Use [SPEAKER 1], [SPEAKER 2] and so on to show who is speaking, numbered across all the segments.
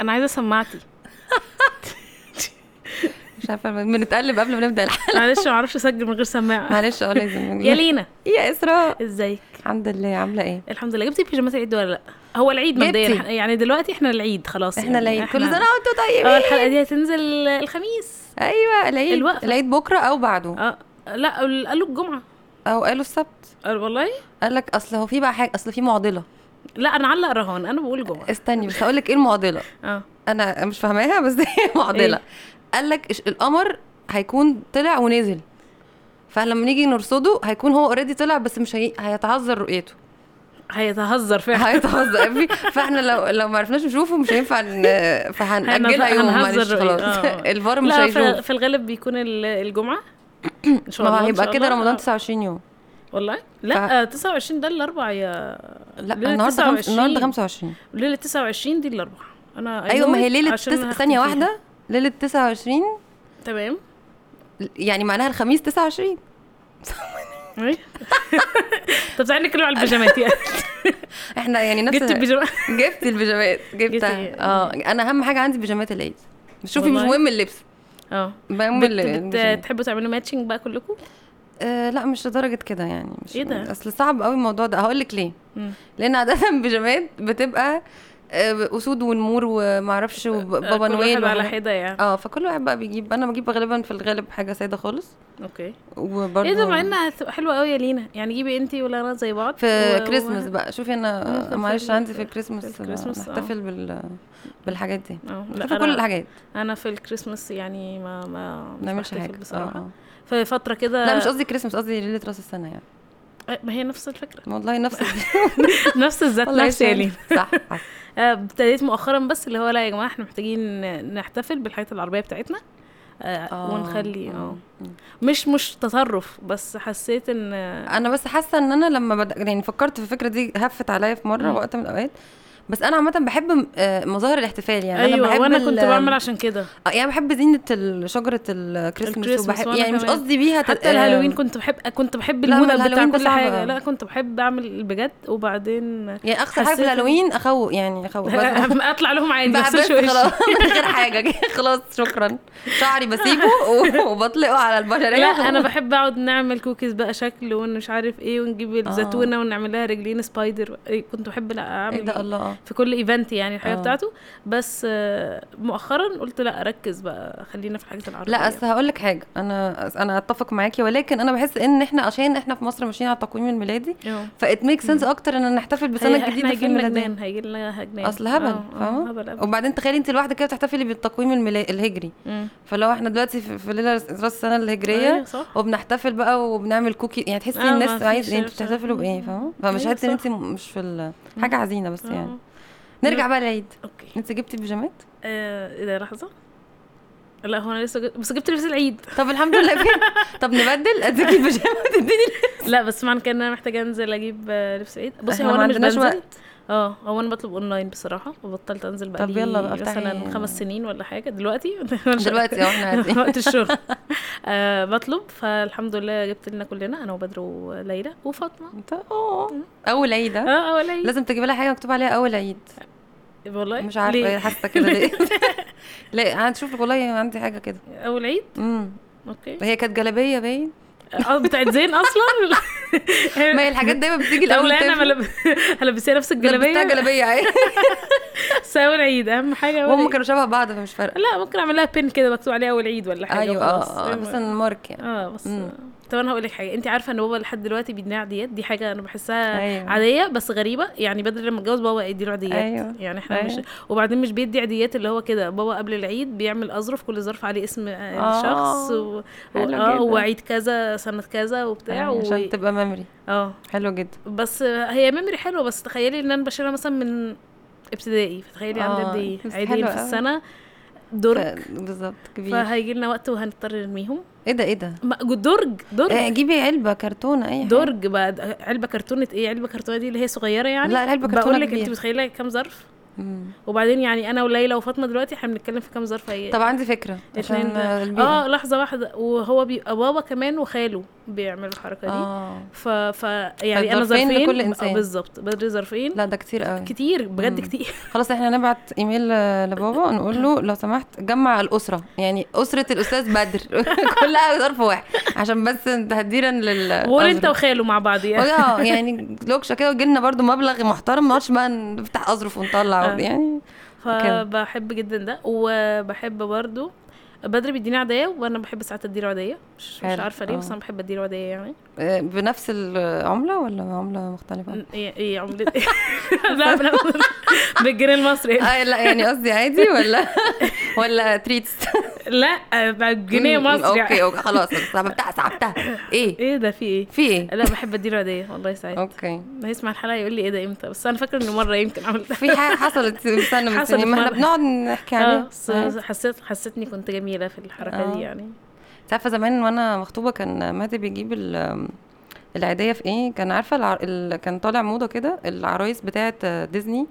[SPEAKER 1] انا عايزه سماعتي
[SPEAKER 2] مش عارفه بنتقلب قبل ما نبدا الحلقه
[SPEAKER 1] معلش ما اعرفش اسجل من غير سماعه
[SPEAKER 2] معلش اه لازم
[SPEAKER 1] يا لينا
[SPEAKER 2] يا اسراء
[SPEAKER 1] ازيك
[SPEAKER 2] الحمد لله عامله ايه
[SPEAKER 1] الحمد لله جبتي بيجامات العيد ولا لا هو العيد مبدئيا
[SPEAKER 2] جبتي.
[SPEAKER 1] يعني دلوقتي احنا العيد خلاص
[SPEAKER 2] احنا
[SPEAKER 1] يعني.
[SPEAKER 2] العيد كل
[SPEAKER 1] إحنا-
[SPEAKER 2] سنه وانتم طيبين
[SPEAKER 1] اه الحلقه دي هتنزل الخميس
[SPEAKER 2] ايوه العيد
[SPEAKER 1] الوقفة.
[SPEAKER 2] العيد بكره او بعده
[SPEAKER 1] اه لا ال- قالوا الجمعه
[SPEAKER 2] او قالوا السبت
[SPEAKER 1] قال- والله
[SPEAKER 2] قال لك اصل هو في بقى حاجه اصل في معضله
[SPEAKER 1] لا انا علق رهان انا بقول جمعه
[SPEAKER 2] استني بس هقول لك ايه المعضله
[SPEAKER 1] اه
[SPEAKER 2] انا مش فاهماها بس هي معضله
[SPEAKER 1] إيه؟
[SPEAKER 2] قال لك إش- القمر هيكون طلع ونزل فلما نيجي نرصده هيكون هو اوريدي طلع بس مش هي... هيتعذر رؤيته
[SPEAKER 1] هيتهزر فعلا
[SPEAKER 2] هيتهزر في- فاحنا لو لو ما عرفناش نشوفه مش هينفع ن- فهنأجلها
[SPEAKER 1] هنف-
[SPEAKER 2] يوم
[SPEAKER 1] هنهزر
[SPEAKER 2] معلش
[SPEAKER 1] رؤية.
[SPEAKER 2] خلاص
[SPEAKER 1] آه.
[SPEAKER 2] الفار مش
[SPEAKER 1] لا في,
[SPEAKER 2] هيشوف
[SPEAKER 1] في الغالب بيكون ال- الجمعه ان شاء الله
[SPEAKER 2] ما
[SPEAKER 1] إن
[SPEAKER 2] هيبقى
[SPEAKER 1] شاء
[SPEAKER 2] كده
[SPEAKER 1] الله.
[SPEAKER 2] رمضان
[SPEAKER 1] آه.
[SPEAKER 2] 29 يوم
[SPEAKER 1] والله لا 29 ده الاربع يا
[SPEAKER 2] لا
[SPEAKER 1] ليلة
[SPEAKER 2] النهارده خمس
[SPEAKER 1] 29.
[SPEAKER 2] النهارده 25
[SPEAKER 1] ليله 29 دي الاربع انا عايزة
[SPEAKER 2] ايوه ما هي
[SPEAKER 1] أقول
[SPEAKER 2] ليله
[SPEAKER 1] أيوة، عشان
[SPEAKER 2] تس...
[SPEAKER 1] هختم
[SPEAKER 2] ثانيه
[SPEAKER 1] فيها.
[SPEAKER 2] واحده ليله 29
[SPEAKER 1] تمام
[SPEAKER 2] يعني معناها الخميس 29
[SPEAKER 1] أي. طب تعالي نتكلم على البيجامات يعني
[SPEAKER 2] احنا يعني نفس
[SPEAKER 1] جبت البيجامات
[SPEAKER 2] جبت البيجامات
[SPEAKER 1] إيه؟
[SPEAKER 2] جبتها اه انا اهم حاجه عندي بيجامات العيد شوفي مش
[SPEAKER 1] والله.
[SPEAKER 2] مهم اللبس
[SPEAKER 1] اه
[SPEAKER 2] مهم
[SPEAKER 1] بت-
[SPEAKER 2] ال-
[SPEAKER 1] بت-
[SPEAKER 2] البيجامات.
[SPEAKER 1] تحبوا تعملوا ماتشنج بقى كلكم
[SPEAKER 2] آه لا مش لدرجه كده يعني مش
[SPEAKER 1] إيه ده؟
[SPEAKER 2] اصل صعب قوي الموضوع ده هقول لك ليه
[SPEAKER 1] مم.
[SPEAKER 2] لان عاده البيجامات بتبقى آه، اسود ونمور ومعرفش وبابا
[SPEAKER 1] آه، كل واحد
[SPEAKER 2] نويل
[SPEAKER 1] على
[SPEAKER 2] وحاجات.
[SPEAKER 1] حده يعني
[SPEAKER 2] اه فكل واحد بقى بيجيب انا بجيب غالبا في الغالب حاجه ساده خالص
[SPEAKER 1] اوكي
[SPEAKER 2] وبرضه
[SPEAKER 1] ايه إيه ده مع انها هتبقى حلوه قوي يا لينا يعني جيبي انت ولا انا زي بعض
[SPEAKER 2] في
[SPEAKER 1] و-
[SPEAKER 2] كريسماس
[SPEAKER 1] و-
[SPEAKER 2] بقى شوفي
[SPEAKER 1] آه، في-
[SPEAKER 2] انا معلش
[SPEAKER 1] في-
[SPEAKER 2] عندي
[SPEAKER 1] في
[SPEAKER 2] في كريسماس
[SPEAKER 1] الكريسماس، آه.
[SPEAKER 2] نحتفل بال بالحاجات دي
[SPEAKER 1] اه لا
[SPEAKER 2] نحتفل كل
[SPEAKER 1] انا,
[SPEAKER 2] الحاجات
[SPEAKER 1] انا في الكريسماس يعني ما ما
[SPEAKER 2] ما نعملش
[SPEAKER 1] بحتفل
[SPEAKER 2] حاجه
[SPEAKER 1] بصراحه
[SPEAKER 2] آه.
[SPEAKER 1] في فتره كده
[SPEAKER 2] آه. لا مش قصدي كريسماس قصدي ليله راس السنه يعني
[SPEAKER 1] آه، ما هي نفس الفكره
[SPEAKER 2] والله نفس
[SPEAKER 1] نفس الذات
[SPEAKER 2] والله
[SPEAKER 1] نفس يا
[SPEAKER 2] شايف.
[SPEAKER 1] لينا
[SPEAKER 2] صح حصل.
[SPEAKER 1] آه، ابتديت مؤخرا بس اللي هو لا يا جماعه احنا محتاجين نحتفل بالحاجات العربيه بتاعتنا آه
[SPEAKER 2] آه،
[SPEAKER 1] ونخلي
[SPEAKER 2] آه.
[SPEAKER 1] اه مش مش تطرف بس حسيت ان
[SPEAKER 2] انا بس حاسه ان انا لما بد... يعني فكرت في الفكره دي هفت عليا في مره
[SPEAKER 1] مم.
[SPEAKER 2] وقت من الاوقات بس انا عامه بحب م- آه، مظاهر الاحتفال يعني انا
[SPEAKER 1] ايوه
[SPEAKER 2] بحب
[SPEAKER 1] وانا كنت
[SPEAKER 2] ال-
[SPEAKER 1] بعمل عشان كده
[SPEAKER 2] آه، يعني بحب زينه ال- شجره الكريسماس
[SPEAKER 1] الكريسماس،
[SPEAKER 2] وبحب
[SPEAKER 1] وأنا
[SPEAKER 2] يعني مش
[SPEAKER 1] كمان.
[SPEAKER 2] قصدي بيها تت-
[SPEAKER 1] حتى الهالوين
[SPEAKER 2] آه،
[SPEAKER 1] كنت بحب كنت بحب
[SPEAKER 2] لا، ما
[SPEAKER 1] المودة بتاع
[SPEAKER 2] الهالوين ده
[SPEAKER 1] كل حاجه
[SPEAKER 2] صعب.
[SPEAKER 1] لا كنت بحب اعمل بجد وبعدين
[SPEAKER 2] يعني اكتر حاجه في
[SPEAKER 1] حسيت إن-
[SPEAKER 2] الهالوين اخوق يعني اخوق بس
[SPEAKER 1] اطلع لهم عادي
[SPEAKER 2] بقى
[SPEAKER 1] بس مش
[SPEAKER 2] بس
[SPEAKER 1] وش.
[SPEAKER 2] خلاص من غير حاجه كده خلاص شكرا شعري بسيبه و- وبطلقه على البشريه
[SPEAKER 1] لا انا بحب اقعد نعمل كوكيز بقى شكل ومش عارف ايه ونجيب
[SPEAKER 2] آه.
[SPEAKER 1] الزتونه ونعمل لها رجلين سبايدر إيه، كنت بحب لا
[SPEAKER 2] ايه
[SPEAKER 1] اعمل
[SPEAKER 2] ده الله
[SPEAKER 1] في كل ايفنت يعني الحاجه
[SPEAKER 2] آه.
[SPEAKER 1] بتاعته بس آه، مؤخرا قلت لا ركز بقى خلينا في الحاجات العربيه
[SPEAKER 2] لا اصل هقول لك حاجه انا انا اتفق معاكي ولكن انا بحس ان احنا عشان احنا في مصر ماشيين على التقويم الميلادي
[SPEAKER 1] أيوه.
[SPEAKER 2] فات ميك سنس اكتر ان نحتفل
[SPEAKER 1] هي-
[SPEAKER 2] بسنه
[SPEAKER 1] احنا
[SPEAKER 2] جديده في
[SPEAKER 1] هيجي أيوة، لنا
[SPEAKER 2] الميلاد
[SPEAKER 1] جنان هيجي لنا جنان
[SPEAKER 2] اصل هبل
[SPEAKER 1] آه، آه،
[SPEAKER 2] فاهمه
[SPEAKER 1] هبل هبل
[SPEAKER 2] وبعدين تخيلي انت لوحدك كده بتحتفلي بالتقويم الميلا- الهجري
[SPEAKER 1] مم.
[SPEAKER 2] فلو احنا دلوقتي في في ليله راس السنه
[SPEAKER 1] أيوه
[SPEAKER 2] الهجريه
[SPEAKER 1] صح
[SPEAKER 2] وبنحتفل بقى وبنعمل كوكي يعني تحسي
[SPEAKER 1] آه، ما
[SPEAKER 2] الناس
[SPEAKER 1] فيش
[SPEAKER 2] عايز يعني
[SPEAKER 1] شيء
[SPEAKER 2] انتوا بتحتفلوا
[SPEAKER 1] بصراحة.
[SPEAKER 2] بايه فاهمه فمش
[SPEAKER 1] أيوه
[SPEAKER 2] حاسه ان
[SPEAKER 1] صح.
[SPEAKER 2] انت مش في ال- حاجه حزينه بس يعني
[SPEAKER 1] آه.
[SPEAKER 2] نرجع بقى للعيد
[SPEAKER 1] اوكي
[SPEAKER 2] انت جبتي بيجامات
[SPEAKER 1] آه، ايه ده لحظه لا هو انا لسه جبت بس جبت لبس العيد
[SPEAKER 2] طب الحمد لله فين طب نبدل اديكي البيجامات تديني
[SPEAKER 1] لا بس معنى كده ان انا محتاجه انزل اجيب آه، لبس عيد بصي
[SPEAKER 2] احنا
[SPEAKER 1] هو
[SPEAKER 2] ما
[SPEAKER 1] انا مش
[SPEAKER 2] عندناش
[SPEAKER 1] بنزل
[SPEAKER 2] وقت.
[SPEAKER 1] اه هو انا بطلب اونلاين بصراحه وبطلت انزل بقى
[SPEAKER 2] طب يلا بقى افتحي-
[SPEAKER 1] مثلا خمس سنين ولا حاجه دلوقتي
[SPEAKER 2] دلوقتي اه احنا قاعدين
[SPEAKER 1] وقت الشغل آه بطلب فالحمد لله جبت لنا كلنا انا وبدر وليلى وفاطمه
[SPEAKER 2] انت اه اول عيد
[SPEAKER 1] اه
[SPEAKER 2] ها؟
[SPEAKER 1] اه ليلى
[SPEAKER 2] لازم تجيبي لها حاجه مكتوب عليها اول عيد
[SPEAKER 1] والله
[SPEAKER 2] مش عارفه
[SPEAKER 1] ليه؟
[SPEAKER 2] ايه حاسه كده ليه لا هنشوف لك والله عندي حاجه كده
[SPEAKER 1] اول عيد
[SPEAKER 2] امم
[SPEAKER 1] اوكي
[SPEAKER 2] هي كانت جلابيه باين
[SPEAKER 1] اه بتاعت زين اصلا
[SPEAKER 2] ما هي الحاجات دايما بتيجي
[SPEAKER 1] طب
[SPEAKER 2] الاول
[SPEAKER 1] لا انا
[SPEAKER 2] تافه.
[SPEAKER 1] ملب... هلبسها نفس
[SPEAKER 2] لبستها
[SPEAKER 1] الجلابيه
[SPEAKER 2] جلابيه عادي
[SPEAKER 1] بس اول عيد اهم حاجه أول
[SPEAKER 2] أيوة. وهم
[SPEAKER 1] عيد.
[SPEAKER 2] كانوا شبه بعض فمش فارقه
[SPEAKER 1] لا ممكن اعمل لها بين كده مكتوب عليها اول عيد ولا حاجه
[SPEAKER 2] ايوه
[SPEAKER 1] وخلاص.
[SPEAKER 2] اه اه مثلا مارك يعني
[SPEAKER 1] اه بس
[SPEAKER 2] مم.
[SPEAKER 1] طب انا هقول لك حاجه انت عارفه ان بابا لحد دلوقتي بيدينا عاديات دي حاجه انا بحسها
[SPEAKER 2] أيوة.
[SPEAKER 1] أيوة. عاديه بس غريبه يعني بدل لما اتجوز بابا يديله عاديات
[SPEAKER 2] أيوة.
[SPEAKER 1] يعني احنا
[SPEAKER 2] أيوة.
[SPEAKER 1] مش وبعدين مش بيدي عاديات اللي هو كده بابا قبل العيد بيعمل اظرف كل ظرف عليه اسم آه.
[SPEAKER 2] آه.
[SPEAKER 1] الشخص و... و...
[SPEAKER 2] حلو
[SPEAKER 1] اه
[SPEAKER 2] جدا.
[SPEAKER 1] وعيد كذا سنه كذا وبتاع
[SPEAKER 2] يعني
[SPEAKER 1] و...
[SPEAKER 2] عشان تبقى ميموري
[SPEAKER 1] اه
[SPEAKER 2] حلو جدا
[SPEAKER 1] بس هي ميموري حلوه بس تخيلي ان انا بشيلها مثلا من ابتدائي فتخيلي عندي
[SPEAKER 2] آه،
[SPEAKER 1] قد ايه
[SPEAKER 2] بس
[SPEAKER 1] عيدين
[SPEAKER 2] حلوة
[SPEAKER 1] في
[SPEAKER 2] أوي.
[SPEAKER 1] السنه
[SPEAKER 2] ف-
[SPEAKER 1] درج
[SPEAKER 2] آه، بالظبط كبير
[SPEAKER 1] فهيجي لنا وقت وهنضطر نرميهم
[SPEAKER 2] ايه ده ايه ده
[SPEAKER 1] ما- درج درج
[SPEAKER 2] آه، جيبي علبه كرتونه اي حاجة.
[SPEAKER 1] درج بقى د- علبه كرتونه ايه علبه كرتونه دي اللي هي صغيره يعني
[SPEAKER 2] لا، العلبة كرتونة
[SPEAKER 1] بقول لك
[SPEAKER 2] كبيرة.
[SPEAKER 1] انت متخيله كام ظرف
[SPEAKER 2] مم.
[SPEAKER 1] وبعدين يعني انا وليلى وفاطمه دلوقتي احنا بنتكلم في كام ظرف هي
[SPEAKER 2] طب عندي فكره عشان
[SPEAKER 1] اتنين
[SPEAKER 2] آه، البيئة.
[SPEAKER 1] اه لحظه واحده وهو بيبقى بابا كمان وخاله بيعملوا الحركه دي
[SPEAKER 2] اه
[SPEAKER 1] ف... ف يعني انا
[SPEAKER 2] فالظرفين
[SPEAKER 1] ظرفين
[SPEAKER 2] لكل
[SPEAKER 1] آه،
[SPEAKER 2] إنسان.
[SPEAKER 1] بالظبط بدري ظرفين
[SPEAKER 2] لا ده كتير قوي
[SPEAKER 1] كتير بجد
[SPEAKER 2] مم.
[SPEAKER 1] كتير
[SPEAKER 2] خلاص احنا هنبعت ايميل آه، لبابا نقول له لو سمحت جمع الاسره يعني اسره الاستاذ بدر كلها ظرف واحد عشان بس تهديرا لل
[SPEAKER 1] وقول انت وخاله مع بعض يعني
[SPEAKER 2] اه يعني لوكشه كده ويجي لنا برضه مبلغ محترم ما نقعدش بقى نفتح اظرف ونطلع
[SPEAKER 1] آه.
[SPEAKER 2] يعني كده.
[SPEAKER 1] فبحب جدا ده وبحب برضو بدري بيديني عاديه وانا بحب ساعات اديله عاديه مش, مش
[SPEAKER 2] حلو،
[SPEAKER 1] عارفه ليه
[SPEAKER 2] آه.
[SPEAKER 1] بس انا بحب اديله عاديه يعني
[SPEAKER 2] آه، بنفس العمله ولا عمله مختلفه؟
[SPEAKER 1] ايه ايه عملة لا لا، بالجنيه المصري
[SPEAKER 2] آه لا يعني قصدي عادي ولا ولا تريتس
[SPEAKER 1] لا آه، بالجنيه
[SPEAKER 2] مم،
[SPEAKER 1] مصري
[SPEAKER 2] اوكي اوكي خلاص خلاص عبتها عبتها ايه
[SPEAKER 1] ايه ده في ايه؟
[SPEAKER 2] في ايه
[SPEAKER 1] لا بحب اديله عاديه والله ساعات
[SPEAKER 2] اوكي
[SPEAKER 1] هيسمع الحلقه يقول لي ايه ده امتى بس انا فاكره انه مره يمكن عملت
[SPEAKER 2] في حاجه حصلت استنى من
[SPEAKER 1] حصلت
[SPEAKER 2] سنين ما احنا
[SPEAKER 1] مرة.
[SPEAKER 2] بنقعد نحكي
[SPEAKER 1] اه
[SPEAKER 2] عليها
[SPEAKER 1] بس حسيت حسيتني كنت جميله في الحركه
[SPEAKER 2] يعني؟ آه.
[SPEAKER 1] دي يعني
[SPEAKER 2] انت عارفه زمان وانا مخطوبه كان مادي بيجيب ال- العيديه في ايه كان عارفه الع... ال... كان طالع موضه كده العرايس بتاعه ديزني